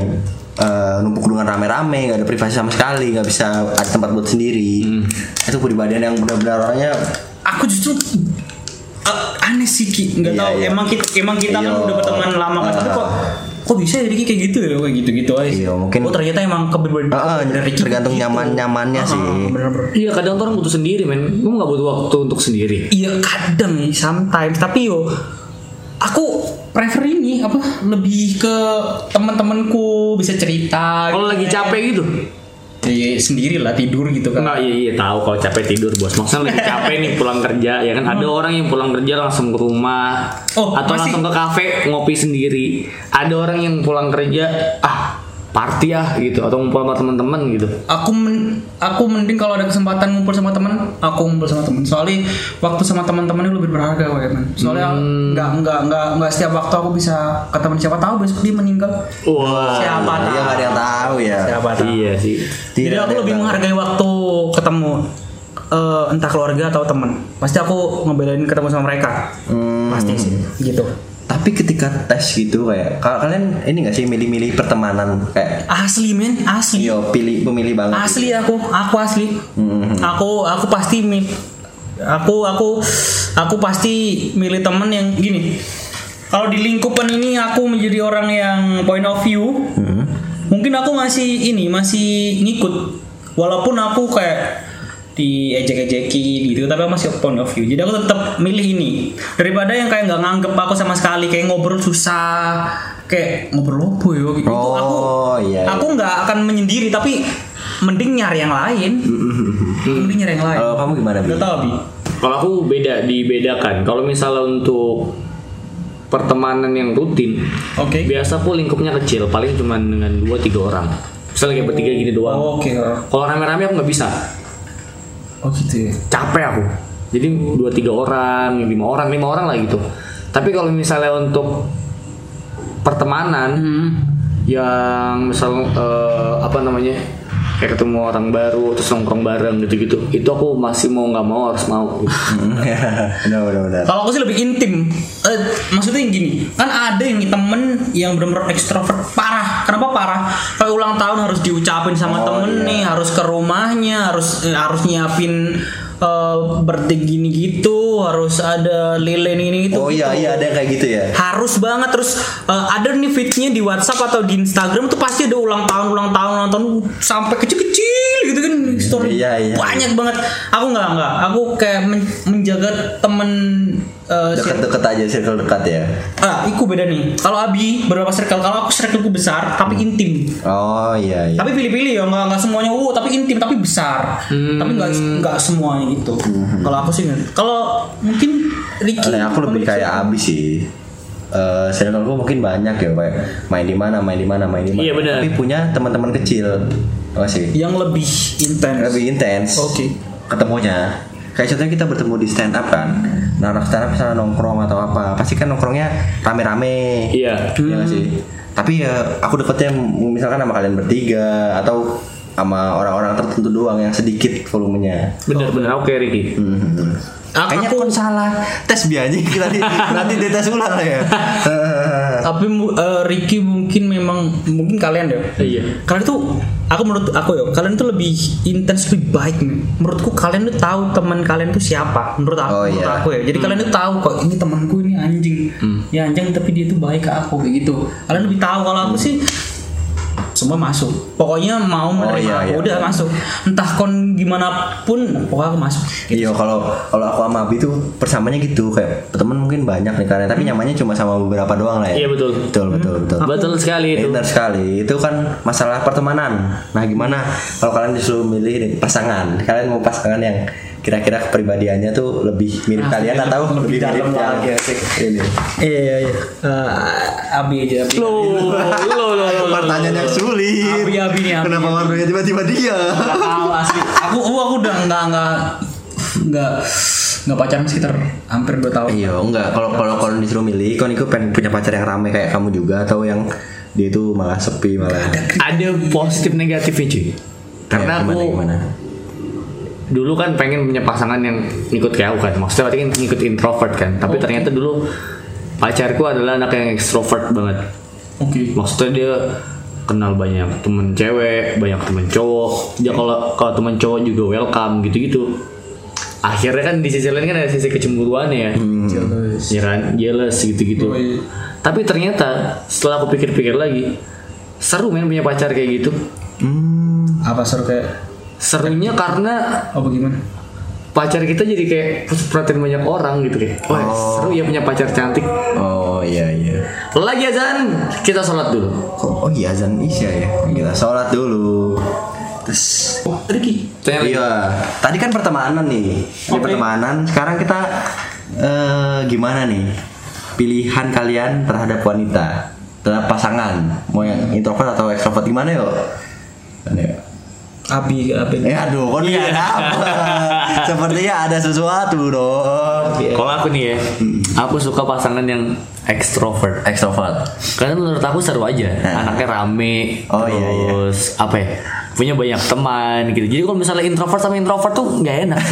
Speaker 2: eh, numpuk dengan rame-rame nggak ada privasi sama sekali nggak bisa ada tempat buat sendiri
Speaker 3: Hmm.
Speaker 2: itu kepribadian yang benar-benar orangnya
Speaker 3: aku justru uh, aneh sih ki
Speaker 2: Iya,
Speaker 3: nggak tahu
Speaker 2: iya.
Speaker 3: emang kita emang kita kan
Speaker 2: Iya.
Speaker 3: udah berteman lama kan tapi
Speaker 2: Ah.
Speaker 3: kok kok bisa ya Riki kayak gitu ya kayak gitu gitu aja sih.
Speaker 2: Iya, mungkin-
Speaker 3: oh ternyata emang keberbedaan
Speaker 2: Ah, ah, tergantung nyaman nyamannya sih
Speaker 3: gitu. bener bener
Speaker 7: Iya kadang tuh orang butuh sendiri men Lu gak butuh waktu untuk sendiri
Speaker 3: iya kadang nih sometimes tapi yo aku prefer ini apa lebih ke teman-temanku bisa cerita
Speaker 7: Kalau
Speaker 3: gitu.
Speaker 7: lagi capek gitu
Speaker 3: Iya, sendiri lah tidur gitu kan
Speaker 7: Enggak iya iya tahu kalau capek tidur bos Maksudnya lagi capek nih pulang kerja ya kan Ada orang yang pulang kerja langsung ke rumah
Speaker 3: Hmm. Oh,
Speaker 7: Atau
Speaker 3: masih-
Speaker 7: langsung ke kafe ngopi sendiri Ada orang yang pulang kerja Ah party ah gitu Atau ngumpul sama teman-teman gitu
Speaker 3: aku men- aku mending kalau ada kesempatan ngumpul sama teman aku ngumpul sama teman soalnya waktu sama teman-teman itu lebih berharga kok ya man soalnya
Speaker 2: Hmm.
Speaker 3: nggak nggak nggak nggak setiap waktu aku bisa ke teman siapa tahu besok dia meninggal
Speaker 7: Wah
Speaker 3: siapa
Speaker 2: Iya
Speaker 3: tahu
Speaker 2: nggak ada yang tahu ya.
Speaker 3: siapa tahu
Speaker 7: Iya sih
Speaker 3: jadi
Speaker 2: Tidak
Speaker 3: aku
Speaker 2: ada
Speaker 3: lebih
Speaker 2: yang
Speaker 3: menghargai waktu ketemu eh, entah keluarga atau teman pasti aku ngebelain ketemu sama mereka
Speaker 2: Hmm.
Speaker 3: pasti sih gitu
Speaker 2: Tapi ketika tes gitu kayak ka- kalian ini nggak sih milih-milih pertemanan kayak
Speaker 3: asli men asli
Speaker 2: yo pilih pemilih banget.
Speaker 3: asli aku aku asli
Speaker 2: Mhm.
Speaker 3: aku aku pasti mi- aku aku aku pasti milih temen yang gini kalau di lingkupan ini aku menjadi orang yang point of view mungkin aku masih ini masih ngikut walaupun aku kayak diejek-ejekin gitu tapi aku masih point of view jadi aku tetap milih ini daripada yang kayak nggak nganggep aku sama sekali kayak ngobrol susah kayak ngobrol apa ya gitu
Speaker 2: Oh,
Speaker 3: aku
Speaker 2: iya, iya.
Speaker 3: aku nggak akan menyendiri tapi mending nyari yang lain mending nyari yang lain
Speaker 2: Kalau kamu gimana Bi?
Speaker 3: Gak tau Bi
Speaker 7: Kalau aku beda dibedakan. Kalau misalnya untuk pertemanan yang rutin,
Speaker 3: Oke
Speaker 7: biasa aku lingkupnya kecil, paling cuma dengan dua tiga orang. Misalnya kayak bertiga gini doang.
Speaker 3: Oh, Oke
Speaker 7: Kalau rame-rame aku nggak bisa,
Speaker 3: Oh gitu ya
Speaker 7: capek aku. Jadi dua tiga orang, lima orang, lima orang lah gitu. Tapi kalau misalnya untuk pertemanan yang misal eh, apa namanya kayak ketemu orang baru terus nongkrong bareng gitu-gitu, itu aku masih mau nggak mau harus mau.
Speaker 2: Hmm. Udah udah udah.
Speaker 3: Kalau aku sih lebih intim. Eh, maksudnya yang gini, kan ada yang temen yang benar-benar ekstrovert parah. Kenapa parah? Kayak ulang tahun harus diucapin sama
Speaker 2: Oh,
Speaker 3: temen
Speaker 2: iya.
Speaker 3: nih, harus ke rumahnya, harus eh, harus nyiapin eh birthday gini gitu, harus ada lilin ini gitu.
Speaker 2: Oh iya iya ada yang kayak gitu ya.
Speaker 3: Harus banget terus eh, ada nih fitnya di WhatsApp atau di Instagram tuh pasti ada ulang tahun ulang tahun ulang tahun uh, sampai kecil-kecil gitu kan story
Speaker 2: Iya, iya.
Speaker 3: banyak banget. Aku nggak nggak, aku kayak men- menjaga temen eh, si-
Speaker 2: Dekat-dekat aja circle dekat ya.
Speaker 3: Ah, iku beda nih. Kalau Abi berapa circle? Kalau aku circleku besar tapi
Speaker 2: Hmm.
Speaker 3: intim.
Speaker 2: Oh iya iya.
Speaker 3: Tapi pilih-pilih ya, nggak nggak semuanya wow, tapi intim
Speaker 2: Hmm.
Speaker 3: tapi besar. Tapi nggak nggak semuanya gitu. Kalau aku sih nggak. Kalau mungkin Ricky.
Speaker 2: Nah, Hmm. aku lebih kayak abis sih. Eh, circle gue mungkin banyak ya, kayak main di mana, main di mana, main di mana.
Speaker 7: Iya, benar.
Speaker 2: Tapi punya teman-teman kecil masih
Speaker 3: yang lebih intens.
Speaker 2: lebih intens.
Speaker 3: Oke.
Speaker 2: Ketemunya. Kayak contohnya kita bertemu di stand up kan. Nah, anak stand up misalnya nongkrong atau apa, pasti kan nongkrongnya rame-rame.
Speaker 7: Iya.
Speaker 2: Iya nggak sih. Tapi ya aku deketnya misalkan sama kalian bertiga atau sama orang-orang tertentu doang yang sedikit volumenya.
Speaker 7: Bener-bener oke Ricky.
Speaker 2: Mhm.
Speaker 3: Aku-
Speaker 2: Kayaknya
Speaker 3: aku-
Speaker 2: kon salah tes biasanya nanti nanti dia tes ulang lah ya. Eh,
Speaker 3: Tapi mu- eh, Ricky mungkin memang mungkin kalian deh.
Speaker 7: Iya.
Speaker 3: Kalian tuh aku menurut aku ya, kalian tuh lebih intens lebih baik men. Menurutku kalian tuh tahu teman kalian tuh siapa. Menurut aku,
Speaker 2: Oh,
Speaker 3: menurut
Speaker 2: iya.
Speaker 3: aku ya. Jadi kalian tuh tahu kok ini temanku ini anjing. Ya anjing tapi dia tuh baik ke aku kayak gitu. Kalian lebih tahu kalau aku sih semua masuk pokoknya mau menerima
Speaker 2: iya, iya.
Speaker 3: aku udah masuk entah kon gimana pun pokoknya aku masuk
Speaker 7: Gitu
Speaker 2: Iya kalau kalau aku sama Abi tuh persamanya gitu kayak temen mungkin banyak nih kalian tapi nyamannya cuma sama beberapa doang lah ya.
Speaker 7: Hmm. Iya, betul.
Speaker 2: Betul betul betul. Eh,
Speaker 7: Betul sekali itu.
Speaker 2: Benar sekali. Itu kan masalah pertemanan. Nah, gimana kalau kalian disuruh milih nih, pasangan? Kalian mau pasangan yang kira-kira kepribadiannya tuh lebih mirip
Speaker 7: Ah,
Speaker 2: kalian atau lebih,
Speaker 3: dalam
Speaker 2: mirip yang
Speaker 3: lagi, asik.
Speaker 2: ini?
Speaker 3: iya iya iya Eh, abi aja abi
Speaker 7: Lo, lo, lo, lo, lo.
Speaker 2: Pertanyaan yang sulit.
Speaker 3: Abi, abi nih, abi.
Speaker 2: Kenapa warnanya tiba-tiba dia?
Speaker 3: Nggak tahu asli. Aku aku, aku udah nggak nggak nggak nggak pacaran sekitar hampir 2 tahun.
Speaker 2: Iya, enggak. Kalau kalau kalau disuruh milih, kon itu pengen punya pacar yang rame kayak kamu juga atau yang dia itu malah sepi malah.
Speaker 7: Ada positif negatifnya cuy. Karena
Speaker 2: Ya, gimana,
Speaker 7: aku
Speaker 2: gimana?
Speaker 7: dulu kan pengen punya pasangan yang ngikut kayak aku kan maksudnya berarti kan ngikut introvert kan tapi ternyata dulu pacarku adalah anak yang ekstrovert banget
Speaker 3: Oke.
Speaker 7: maksudnya dia kenal banyak temen cewek banyak temen cowok dia kalau kalau temen cowok juga welcome gitu gitu akhirnya kan di sisi lain kan ada sisi kecemburuannya ya
Speaker 3: Hmm.
Speaker 7: ya kan jealous gitu-gitu
Speaker 3: Yoi.
Speaker 7: tapi ternyata setelah aku pikir-pikir lagi seru main punya pacar kayak gitu
Speaker 3: Apa seru kayak
Speaker 7: serunya karena
Speaker 3: apa gimana?
Speaker 7: pacar kita jadi kayak pusat perhatian banyak orang gitu kayak wah seru ya punya pacar cantik
Speaker 2: Oh iya iya.
Speaker 7: lagi azan kita sholat dulu
Speaker 2: Kok- Oh iya azan isya ya. Kita sholat dulu. Terus
Speaker 3: Oh, Ricky.
Speaker 7: Tanya lagi.
Speaker 2: iya. Tadi kan pertemanan nih. Ini pertemanan. Sekarang kita eh, gimana nih? Pilihan kalian terhadap wanita, terhadap pasangan, mau yang introvert atau ekstrovert gimana yo? Gimana yo?
Speaker 3: Abi abi.
Speaker 2: Ya aduh, kok
Speaker 7: Iya.
Speaker 2: nggak ada apa? Sepertinya ada sesuatu dong.
Speaker 7: kalau aku nih ya aku suka pasangan yang ekstrovert
Speaker 2: Ekstrovert.
Speaker 7: karena menurut aku seru aja
Speaker 2: Nah.
Speaker 7: anaknya rame
Speaker 2: Oh, iya, iya.
Speaker 7: terus apa ya punya banyak teman gitu jadi kalau misalnya introvert sama introvert tuh nggak enak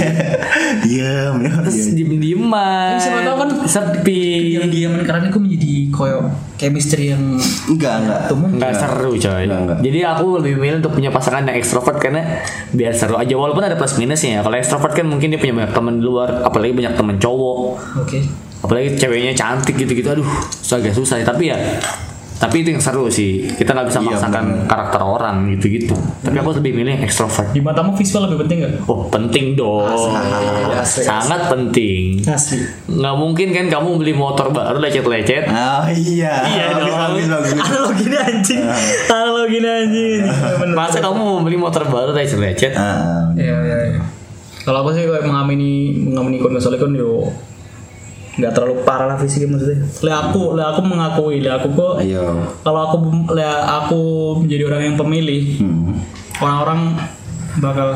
Speaker 2: Diam, ya.
Speaker 7: terus
Speaker 2: diam.
Speaker 7: diem dieman
Speaker 3: Tapi siapa tahu kan
Speaker 7: sepi
Speaker 3: Yang diaman karena aku menjadi koyo chemistry yang
Speaker 2: Enggak, enggak.
Speaker 3: temen.
Speaker 7: Nggak seru coy
Speaker 2: Iya. Nggak, nggak.
Speaker 7: Jadi aku lebih milih untuk punya pasangan yang ekstrovert Karena biar seru aja Walaupun ada plus minusnya ya Kalau ekstrovert kan mungkin dia punya banyak temen di luar Apalagi banyak temen cowok
Speaker 3: Oke.
Speaker 7: Apalagi ceweknya cantik gitu-gitu Aduh susah agak susah ya Tapi ya Tapi itu yang seru sih Kita nggak bisa
Speaker 2: Iya,
Speaker 7: memaksakan karakter orang gitu-gitu Tapi aku lebih milih yang ekstrovert
Speaker 3: Di matamu visual lebih penting gak?
Speaker 7: Oh penting dong
Speaker 3: asik,
Speaker 7: Sangat penting
Speaker 3: Asli.
Speaker 7: Nggak mungkin kan kamu beli motor baru lecet-lecet
Speaker 2: Oh iya.
Speaker 3: Ah,
Speaker 2: Bagus, bagus, bagus.
Speaker 3: Analogi ini anjing. Analogi ini anjing. Bener.
Speaker 7: Masa kamu mau beli motor baru lecet-lecet
Speaker 2: Ah,
Speaker 3: Iya iya. iya. Kalau aku sih kayak mengamini mengamini kon soalnya kon yo nggak terlalu parah lah fisiknya maksudnya. Lah aku, lah aku mengakui, lah aku kok.
Speaker 2: Ayo.
Speaker 3: Kalau aku lah aku menjadi orang yang pemilih,
Speaker 2: Hmm.
Speaker 3: orang-orang bakal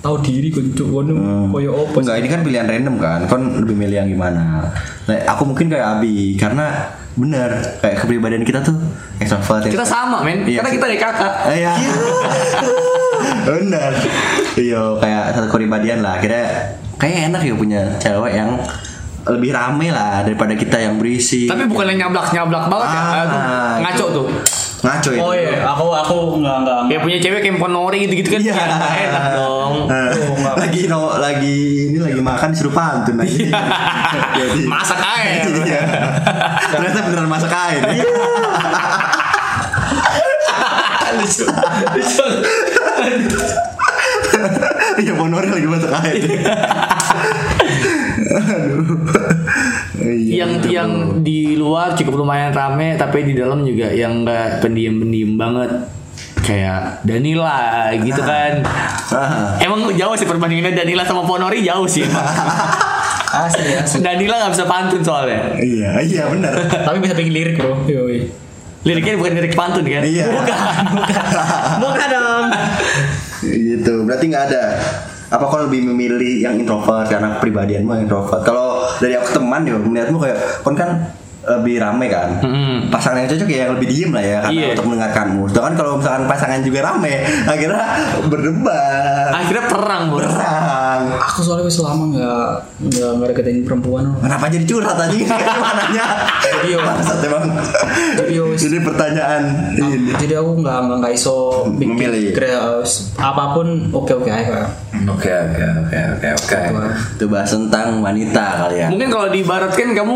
Speaker 3: tahu diri kuncu kono koyo opo.
Speaker 2: Enggak, ini kan pilihan random kan. Kon lebih milih yang gimana? Nah, aku mungkin kayak Abi karena bener kayak kepribadian kita tuh ekstrovert.
Speaker 7: Kita sama men
Speaker 2: Iya.
Speaker 7: Karena kita dari kakak
Speaker 2: Iya. Bener. Iya, kayak satu kepribadian lah. Kira kayak enak ya punya cewek yang lebih rame lah daripada kita yang berisi.
Speaker 7: Tapi bukan yang nyablak-nyablak banget ya.
Speaker 2: Iya, Ah,
Speaker 7: Aduh, ngaco
Speaker 2: itu.
Speaker 7: tuh.
Speaker 2: ngaco itu.
Speaker 3: Oh iya, aku aku nggak nggak.
Speaker 7: Ya punya cewek kayak ponori gitu-gitu kan.
Speaker 2: Iya.
Speaker 7: Ya, enak dong. Oh,
Speaker 2: Eh, lagi no, lagi ini lagi makan disuruh pantun lagi. Jadi-
Speaker 7: Iya. Masak air.
Speaker 2: Iya. Ternyata beneran masak air.
Speaker 7: Iya.
Speaker 2: Iya Bonori lagi masak air.
Speaker 7: Iya.
Speaker 2: Aduh. Iya.
Speaker 7: yang yang di luar cukup lumayan rame tapi di dalam juga yang enggak pendiam-pendiam banget. Kayak Danila gitu kan.
Speaker 2: Ah.
Speaker 7: Emang jauh sih perbandingannya Danila sama Ponori jauh sih. emang.
Speaker 2: Asli asli.
Speaker 7: Danila nggak bisa pantun soalnya.
Speaker 2: Iya iya benar.
Speaker 3: Tapi bisa bikin lirik bro. iya. Yoi.
Speaker 7: Liriknya bukan lirik pantun kan?
Speaker 2: Iya.
Speaker 3: Bukan dong.
Speaker 2: gitu. Berarti nggak ada. Apa kau lebih memilih yang introvert karena kepribadianmu yang introvert? Kalau dari aku teman ya melihatmu kayak kon kan lebih rame kan
Speaker 7: Mm-mm.
Speaker 2: pasangan yang cocok ya yang lebih diem lah ya karena
Speaker 7: Iya.
Speaker 2: untuk mendengarkanmu sedangkan kalau misalkan pasangan juga rame akhirnya berdebat
Speaker 7: Akhirnya perang bro.
Speaker 2: berang
Speaker 3: Aku soalnya wis lama nggak nggak nggak deketin perempuan. loh.
Speaker 2: Kenapa jadi curhat tadi? Mananya?
Speaker 3: Jadi, yo.
Speaker 2: Bangsat emang.
Speaker 3: Jadi, yo, wis.
Speaker 2: Jadi pertanyaan ini.
Speaker 3: Jadi aku nggak nggak nggak iso bikin
Speaker 2: Memilih.
Speaker 3: kre- apapun oke oke aja.
Speaker 2: Oke oke oke oke oke. Itu bahas tentang wanita kali ya.
Speaker 7: Mungkin kalau diibaratkan kamu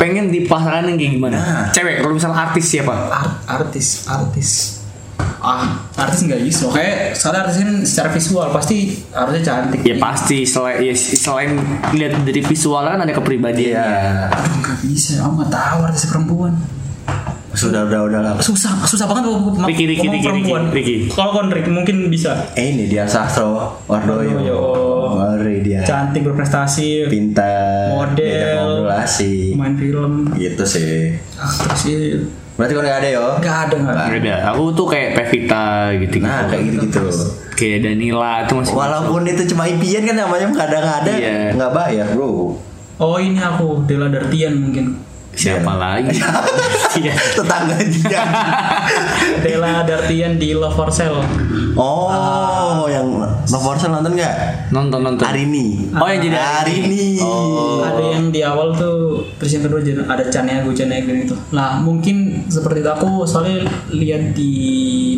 Speaker 7: pengen di pasangan yang kayak gimana?
Speaker 2: Nah.
Speaker 7: Cewek, kalau misalnya artis siapa?
Speaker 3: Art, artis artis ah artis nggak iso kayak soalnya artis kan secara visual pasti harusnya cantik
Speaker 7: Ya pasti selain ya, selain lihat dari visual kan ada
Speaker 2: Iya.
Speaker 7: kepribadiannya.
Speaker 2: ya.
Speaker 3: Aduh, nggak bisa aku nggak tahu artis perempuan
Speaker 2: Sudah udah udah lah.
Speaker 3: susah susah banget aku ngomong
Speaker 7: Ricky, Ricky, Ricky,
Speaker 3: perempuan
Speaker 7: Ricky, Ricky.
Speaker 3: kalau kon Ricky mungkin bisa
Speaker 2: Eh ini dia Sastro Wardoyo.
Speaker 3: Wardoyo.
Speaker 2: Ngeri dia.
Speaker 3: cantik berprestasi
Speaker 2: Pintar.
Speaker 3: Model.
Speaker 2: diajak ngobrol asik.
Speaker 3: main film
Speaker 2: Gitu sih.
Speaker 3: aktris sih
Speaker 2: Berarti kalau nggak ada yo.
Speaker 3: nggak ada nggak ada.
Speaker 7: Beda. Aku tuh kayak Pevita gitu.
Speaker 2: Nah kayak gitu gitu.
Speaker 7: Kayak Danila itu masih.
Speaker 2: Walaupun itu cuma impian kan namanya kadang-kadang
Speaker 7: Iya.
Speaker 2: nggak bayar bro.
Speaker 3: oh ini aku Dela Dartian mungkin
Speaker 7: Siapa lagi? Iya.
Speaker 2: Tetangga dia.
Speaker 3: Dela Dartian di Love for Sale
Speaker 2: Oh, yang nomor sel nonton nggak?
Speaker 7: Nonton nonton.
Speaker 2: Arini.
Speaker 7: Oh, yang jadi Oh.
Speaker 2: Arini.
Speaker 3: ada yang di awal tuh terus yang kedua jadi ada Chania gue Chania gitu nah mungkin seperti itu aku soalnya lihat di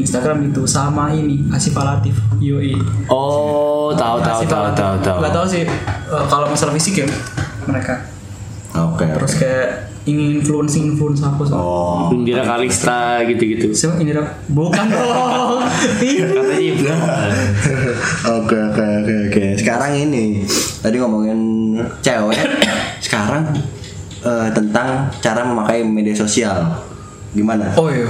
Speaker 3: Instagram gitu sama ini Asif Latif Yoi
Speaker 7: Oh, tahu tahu
Speaker 3: Asif
Speaker 7: tahu
Speaker 3: Latif.
Speaker 7: tahu tahu.
Speaker 3: Nggak tahu sih eh, kalau masalah fisik ya mereka
Speaker 2: Oke.
Speaker 3: terus kayak ingin influence influence aku sama
Speaker 2: Oh.
Speaker 7: Indira Kalista gitu-gitu.
Speaker 3: siapa ini dok bukan dong
Speaker 7: Katanya ibu.
Speaker 2: Oke oke oke oke. Sekarang ini tadi ngomongin cewek. Sekarang eh, tentang cara memakai media sosial. Gimana?
Speaker 3: oh iya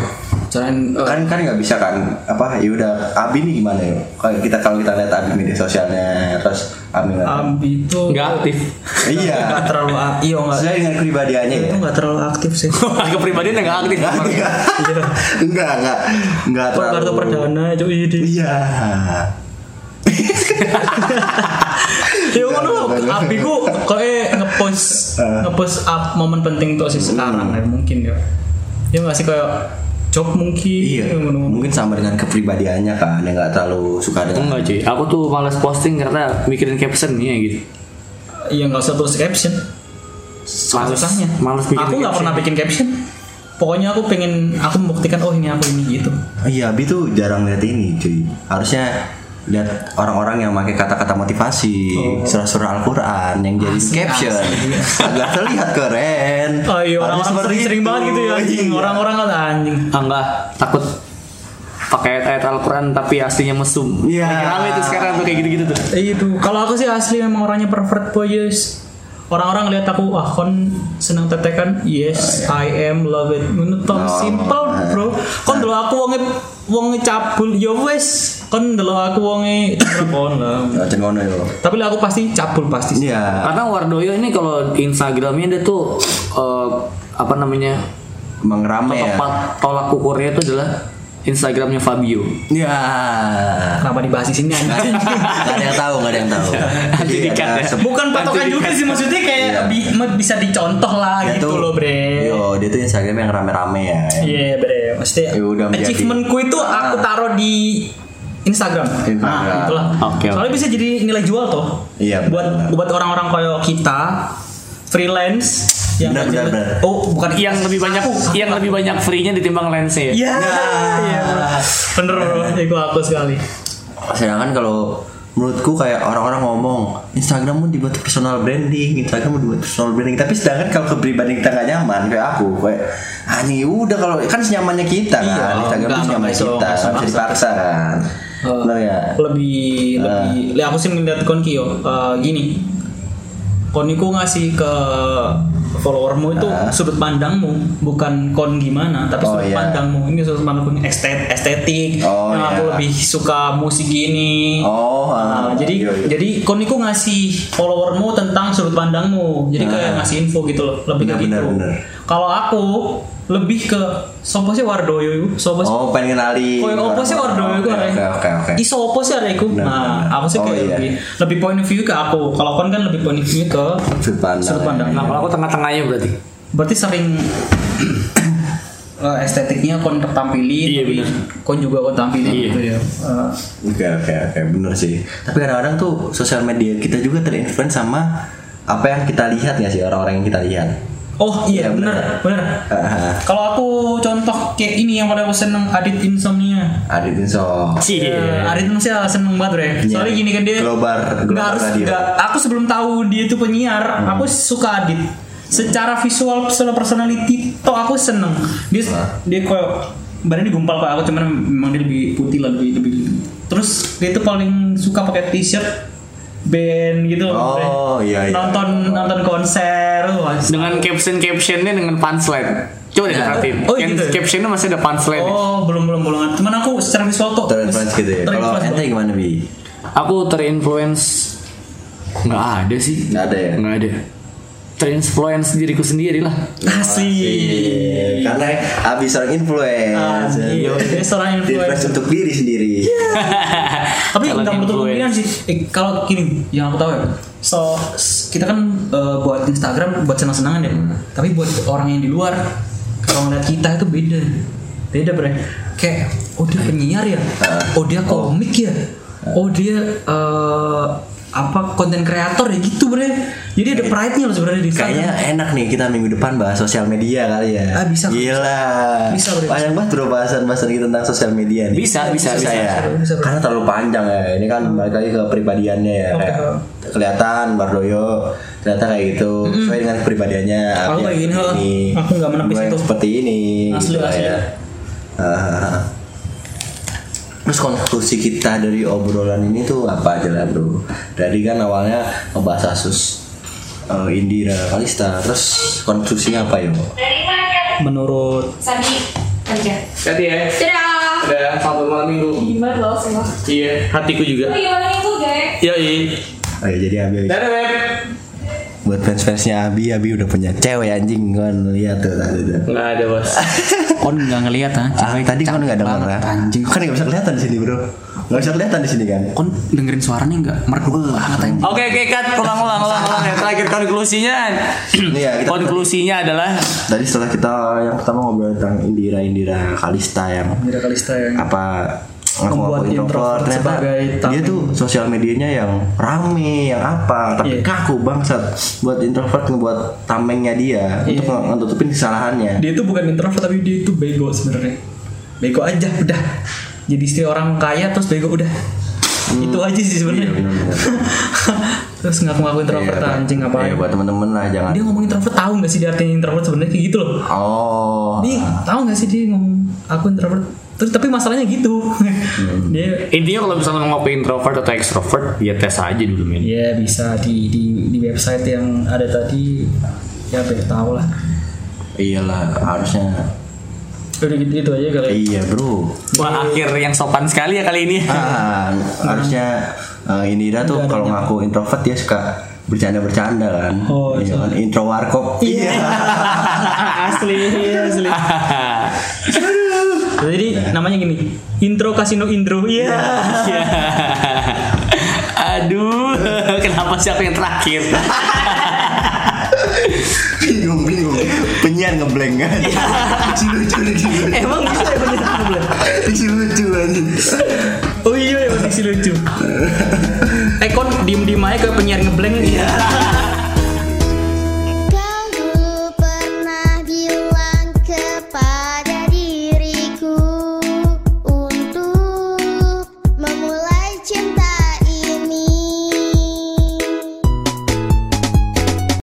Speaker 3: Jangan eh,
Speaker 2: Kan kan nggak bisa kan apa ya udah Abi nih gimana ya? Kalau kita kalau kita lihat Abi media sosialnya terus Abi nggak-
Speaker 3: Abi itu
Speaker 7: Nggak aktif.
Speaker 2: Iya.
Speaker 3: nggak terlalu a- iya nggak
Speaker 2: Sesuai dengan kepribadiannya ya.
Speaker 3: itu nggak terlalu aktif sih
Speaker 7: Kepribadian nggak aktif.
Speaker 2: enggak enggak enggak
Speaker 3: Kok Iya. kartu
Speaker 2: terlalu-
Speaker 3: perdana itu ini
Speaker 2: Iya.
Speaker 3: Ya ngono api ku kayak ngepost ngepost up momen penting tuh sih sekarang ya mungkin ya. Ya nggak sih kayak job mungkin
Speaker 2: Iya,
Speaker 3: ya ngono.
Speaker 2: mungkin sama dengan kepribadiannya kan, yang nggak terlalu suka dengan.
Speaker 7: Enggak cuy, aku tuh males posting karena mikirin caption ya gitu.
Speaker 3: Ya nggak usah tulis caption.
Speaker 7: Males,
Speaker 3: Susahnya.
Speaker 7: males bikin
Speaker 3: aku nggak
Speaker 7: caption.
Speaker 3: pernah bikin caption. Pokoknya aku pengen aku membuktikan oh ini aku ini gitu.
Speaker 2: Iya, Abi tuh jarang lihat ini, cuy. Harusnya lihat orang-orang yang pakai kata-kata motivasi,
Speaker 3: Oh.
Speaker 2: surah-surah Al-Quran yang jadi caption agar terlihat keren.
Speaker 3: Oh iya
Speaker 2: Harusnya
Speaker 3: orang-orang
Speaker 2: seperti
Speaker 3: sering, sering
Speaker 2: itu.
Speaker 3: banget gitu ya anjing.
Speaker 2: Iya.
Speaker 3: Orang-orang kan anjing.
Speaker 7: Ah, enggak, takut pakai ayat Al-Quran tapi aslinya mesum.
Speaker 2: Iya.
Speaker 7: Lagi Rame tuh sekarang tuh kayak gitu-gitu tuh.
Speaker 3: Eh, Itu kalau aku sih asli memang orangnya pervert boy yes. Orang-orang lihat aku wah kon seneng tetekan. Yes, I am love it. Menurut
Speaker 2: iya.
Speaker 3: Tom
Speaker 2: Oh.
Speaker 3: simple bro. Kon dulu aku wonge wonge cabul ya wes. Kon dulu aku wonge kon lah.
Speaker 2: Ya, Cen ngono yo.
Speaker 3: Tapi lah aku pasti cabul pasti.
Speaker 2: Iya.
Speaker 7: Karena Wardoyo ini kalau di Instagramnya dia tuh eh, apa namanya
Speaker 2: Emang rame ya.
Speaker 7: tepat tolak ukurnya itu adalah Instagramnya Fabio.
Speaker 2: Iya.
Speaker 3: Kenapa dibahas di sini anjing?
Speaker 2: Gak ada yang tahu, gak ada yang tahu. Iya, Jadi
Speaker 7: Jadi cut
Speaker 2: ada
Speaker 7: ya.
Speaker 2: sebuah-
Speaker 3: Bukan patokan juga sih maksudnya kayak bi- bisa dicontoh lah
Speaker 2: Dia Iya.
Speaker 3: gitu
Speaker 2: tuh- Iya.
Speaker 3: loh bre.
Speaker 2: Yo, dia tuh Instagram yang rame-rame ya.
Speaker 3: Iya bre, maksudnya
Speaker 2: Ya udah menjadi- Ah.
Speaker 3: achievementku itu aku taruh di Instagram.
Speaker 2: Instagram.
Speaker 3: Nah, itulah.
Speaker 7: Oke,
Speaker 3: Soalnya bisa jadi nilai jual toh.
Speaker 2: Iya,
Speaker 3: Buat
Speaker 2: benar.
Speaker 3: buat orang-orang kayak kita freelance yang
Speaker 2: Benar, benar, benar.
Speaker 3: Oh, bukan
Speaker 7: Yang lebih banyak yang lebih banyak free-nya ditimbang lensnya. ya?
Speaker 3: Iya. Iya. Bener bro, itu aku sekali.
Speaker 2: Sedangkan kalau menurutku kayak orang-orang ngomong Instagram mau dibuat personal branding, Instagram mau dibuat personal branding. Tapi sedangkan kalau kepribadian kita nggak nyaman kayak aku, kayak anjing udah kalau kan senyamannya kita kan,
Speaker 3: Iya,
Speaker 2: Instagram
Speaker 3: nggak,
Speaker 2: tuh senyaman
Speaker 3: nggak bisa-
Speaker 2: kita,
Speaker 3: nggak bisa
Speaker 2: nggak bisa dipaksa kan.
Speaker 3: Eh,
Speaker 2: Bener ya?
Speaker 3: lebih lebih Lah, aku sih ngeliat kon kio eh, gini kon iku ngasih ke followermu itu sudut pandangmu bukan kon gimana tapi
Speaker 2: Ah. Oh,
Speaker 3: sudut
Speaker 2: iya.
Speaker 3: pandangmu ini sudut pandangku ini estet- estetik
Speaker 2: Oh,
Speaker 3: yang aku
Speaker 2: iya.
Speaker 3: lebih suka musik gini
Speaker 2: Oh, ah,
Speaker 3: Nah, jadi
Speaker 2: iya, iya.
Speaker 3: jadi kon iku ngasih followermu tentang sudut sudut pandangmu jadi kayak ngasih info gitu loh lebih ke
Speaker 2: Ah. Benar,
Speaker 3: gitu
Speaker 2: benar, benar.
Speaker 3: kalau aku lebih ke sopo sih Wardoyo itu sopo sih
Speaker 2: Oh, pengen kenali.
Speaker 3: Koyo opo sih Wardoyo
Speaker 2: Oke,
Speaker 3: itu
Speaker 2: Iya, Oke, oke, oke.
Speaker 3: Iso opo sih arek iku?
Speaker 2: Benar,
Speaker 3: Nah,
Speaker 2: benar.
Speaker 3: aku sih
Speaker 2: Oh,
Speaker 3: kayak
Speaker 2: iya.
Speaker 3: lebih lebih point of view ke aku. Kalau kon kan lebih point of view ke
Speaker 2: Sudut pandang.
Speaker 3: sudut pandang.
Speaker 7: Nah,
Speaker 3: Nah,
Speaker 7: kalau aku tengah-tengahnya berarti.
Speaker 3: berarti sering eh, estetiknya kon tertampilin
Speaker 7: Iya,
Speaker 3: tapi
Speaker 7: benar.
Speaker 3: kon juga kon tampilin
Speaker 7: Iya.
Speaker 3: gitu ya Eh,
Speaker 2: Oke oke oke bener sih. Tapi kadang-kadang tuh sosial media kita juga terinfluence sama apa yang kita lihat nggak sih orang-orang yang kita lihat.
Speaker 3: oh iya
Speaker 2: Iya, benar.
Speaker 3: benar benar
Speaker 2: Ah,
Speaker 3: kalau aku contoh kayak ini yang paling aku seneng Adit Insomnia
Speaker 2: Adit Inso.
Speaker 7: Iya.
Speaker 3: Eh, Adit Insomnia seneng banget bre
Speaker 2: Iya.
Speaker 3: soalnya gini kan dia
Speaker 2: Global- global
Speaker 3: nggak harus
Speaker 2: radio. Hmm.
Speaker 3: nggak- aku sebelum tahu dia itu penyiar aku suka Adit secara visual secara personality toh aku seneng dia dia kayak badannya gumpal pak aku cuman memang dia lebih putih lah lebih lebih terus dia itu paling suka pakai t-shirt band gitu loh, Bre.
Speaker 2: Oh, iya, iya.
Speaker 3: nonton nonton konser wah,
Speaker 7: Dengan caption-captionnya dengan punchline. Coba deh perhatiin.
Speaker 3: Oh,
Speaker 7: yang
Speaker 3: gitu ya?
Speaker 7: captionnya masih ada punchline.
Speaker 3: Oh, belum belum belum. Cuman aku secara visual tuh
Speaker 2: Terinfluence ya. gitu ya. Kalau
Speaker 3: terinfluence
Speaker 2: ente
Speaker 3: banget.
Speaker 2: gimana bi?
Speaker 7: Aku terinfluence nggak ada sih.
Speaker 2: Nggak ada ya?
Speaker 7: Nggak ada. Terinfluence diriku sendiri lah.
Speaker 3: Asik.
Speaker 2: Iya, Karena abis orang influence.
Speaker 3: Asik. Dia seorang
Speaker 2: Influence
Speaker 3: influencer. Iya,
Speaker 2: untuk diri sendiri.
Speaker 3: Tapi
Speaker 7: Calon
Speaker 3: nggak
Speaker 7: influencer.
Speaker 3: menutup kemungkinan sih. Eh, kalau gini, yang aku tahu ya. So s- kita kan eh, buat Instagram buat senang-senangan ya. Tapi buat orang yang di luar kalau ngeliat kita itu beda. Beda bre. Kayak oh dia penyiar ya. Oh dia komik ya. Oh dia eh, apa konten kreator ya gitu bre. Jadi ada pride-nya loh sebenarnya di Instagram.
Speaker 2: Kayaknya enak nih kita minggu depan bahas sosial media kali ya.
Speaker 3: Ah, bisa.
Speaker 2: Gila.
Speaker 3: Bisa, bro.
Speaker 2: Banyak banget bro bahasan-bahasan kita tentang sosial media nih.
Speaker 7: Bisa, bisa, bisa.
Speaker 2: saya.
Speaker 3: bisa, bisa.
Speaker 2: Karena terlalu panjang ya. Ini kan balik lagi ke pribadiannya ya.
Speaker 3: Oke.
Speaker 2: Kayak kelihatan Bardoyo ternyata kayak gitu sesuai dengan kepribadiannya.
Speaker 3: Aku
Speaker 2: Abi
Speaker 3: kayak
Speaker 2: yang
Speaker 3: gini,
Speaker 2: seperti
Speaker 3: oh.
Speaker 2: ini,
Speaker 3: Aku nggak menepis
Speaker 2: gue yang
Speaker 3: itu.
Speaker 2: Seperti ini.
Speaker 3: Asli,
Speaker 2: lah
Speaker 3: asli.
Speaker 2: ya. Ah. Terus konklusi kita dari obrolan ini tuh apa aja lah bro? Dari kan awalnya ngebahas Asus eh, Indira Kalista, terus konklusinya apa ya? Bro?
Speaker 3: menurut
Speaker 9: Sandi aja.
Speaker 7: Hati ya.
Speaker 9: Dadah.
Speaker 7: Ada selamat malam minggu.
Speaker 9: Gimana lo semua?
Speaker 7: Iya, hatiku juga.
Speaker 9: Oh, gimana minggu, guys?
Speaker 7: Iya, iya.
Speaker 2: Oh ya jadi Abi
Speaker 7: Dadah, Beb.
Speaker 2: buat fans fansnya Abi, Abi udah punya cewek anjing kan lihat tuh tadi tuh.
Speaker 7: Nggak ada, Bos.
Speaker 3: kon nggak ngelihat ah
Speaker 2: Ah,
Speaker 3: cewek
Speaker 2: tadi kan
Speaker 3: cantik
Speaker 2: nggak denger
Speaker 3: banget,
Speaker 2: ya?
Speaker 3: anjing
Speaker 2: Kan nggak bisa kelihatan di sini bro, nggak bisa kelihatan di sini kan?
Speaker 3: kon dengerin suaranya nggak merdu banget anjing
Speaker 8: Oke oke cut ulang ulang ulang ulang ya terakhir konklusinya.
Speaker 2: Iya, kita-
Speaker 8: konklusinya adalah
Speaker 2: Tadi setelah kita yang pertama ngobrol tentang Indira Indira Kalista yang
Speaker 3: Mira Kalista ya
Speaker 2: apa ngaku-ngaku
Speaker 3: Membuat introvert
Speaker 2: introvert ternyata
Speaker 3: sebagai
Speaker 2: dia
Speaker 3: tameng.
Speaker 2: tuh sosial medianya yang rame yang apa tapi
Speaker 3: Iya.
Speaker 2: kaku bangsat buat introvert ngebuat tamengnya dia untuk nge- ngetutupin kesalahannya Iya,
Speaker 3: Iya. dia itu bukan introvert tapi dia itu bego sebenarnya bego aja udah jadi istri orang kaya terus bego udah itu aja sih
Speaker 2: Hmm.
Speaker 3: sebenarnya
Speaker 2: Iya, benar-benar.
Speaker 3: terus ngaku-ngaku introvert
Speaker 2: Iya,
Speaker 3: anjing apa
Speaker 2: iya, buat temen-temen lah jangan
Speaker 3: dia ngomong introvert tahu nggak sih dia artinya introvert sebenarnya kayak gitu loh
Speaker 2: oh
Speaker 3: Dia tahu nggak sih dia ngomong aku introvert terus tapi masalahnya gitu
Speaker 2: Hmm.
Speaker 3: dia
Speaker 7: Intinya kalau misalnya mau ngopi introvert atau extrovert, ya tes aja dulu, men.
Speaker 3: Ya bisa di di di website yang ada tadi ya biar tahu lah.
Speaker 2: iyalah harusnya
Speaker 3: Udah gitu, gitu aja kali.
Speaker 2: iya bro
Speaker 8: wah akhir yang sopan sekali ya kali ini.
Speaker 3: Iya.
Speaker 2: ah, harusnya eh, Indira tuh kalau ngaku introvert dia suka bercanda-bercanda kan
Speaker 3: Oh,
Speaker 2: Iya kan? intro warkop
Speaker 3: asli asli. Jadi namanya gini, intro kasino intro. Iya.
Speaker 8: Ya. Aduh, kenapa siapa yang terakhir?
Speaker 2: bingung bingung penyiar ngeblank kan lucu lucu lucu
Speaker 3: Emang bisa ya bener problem.
Speaker 2: lucu lucu anjing.
Speaker 3: Oh iya ya diksi lucu. Eh kon diem diem aja ke penyiar ngeblank. Iya.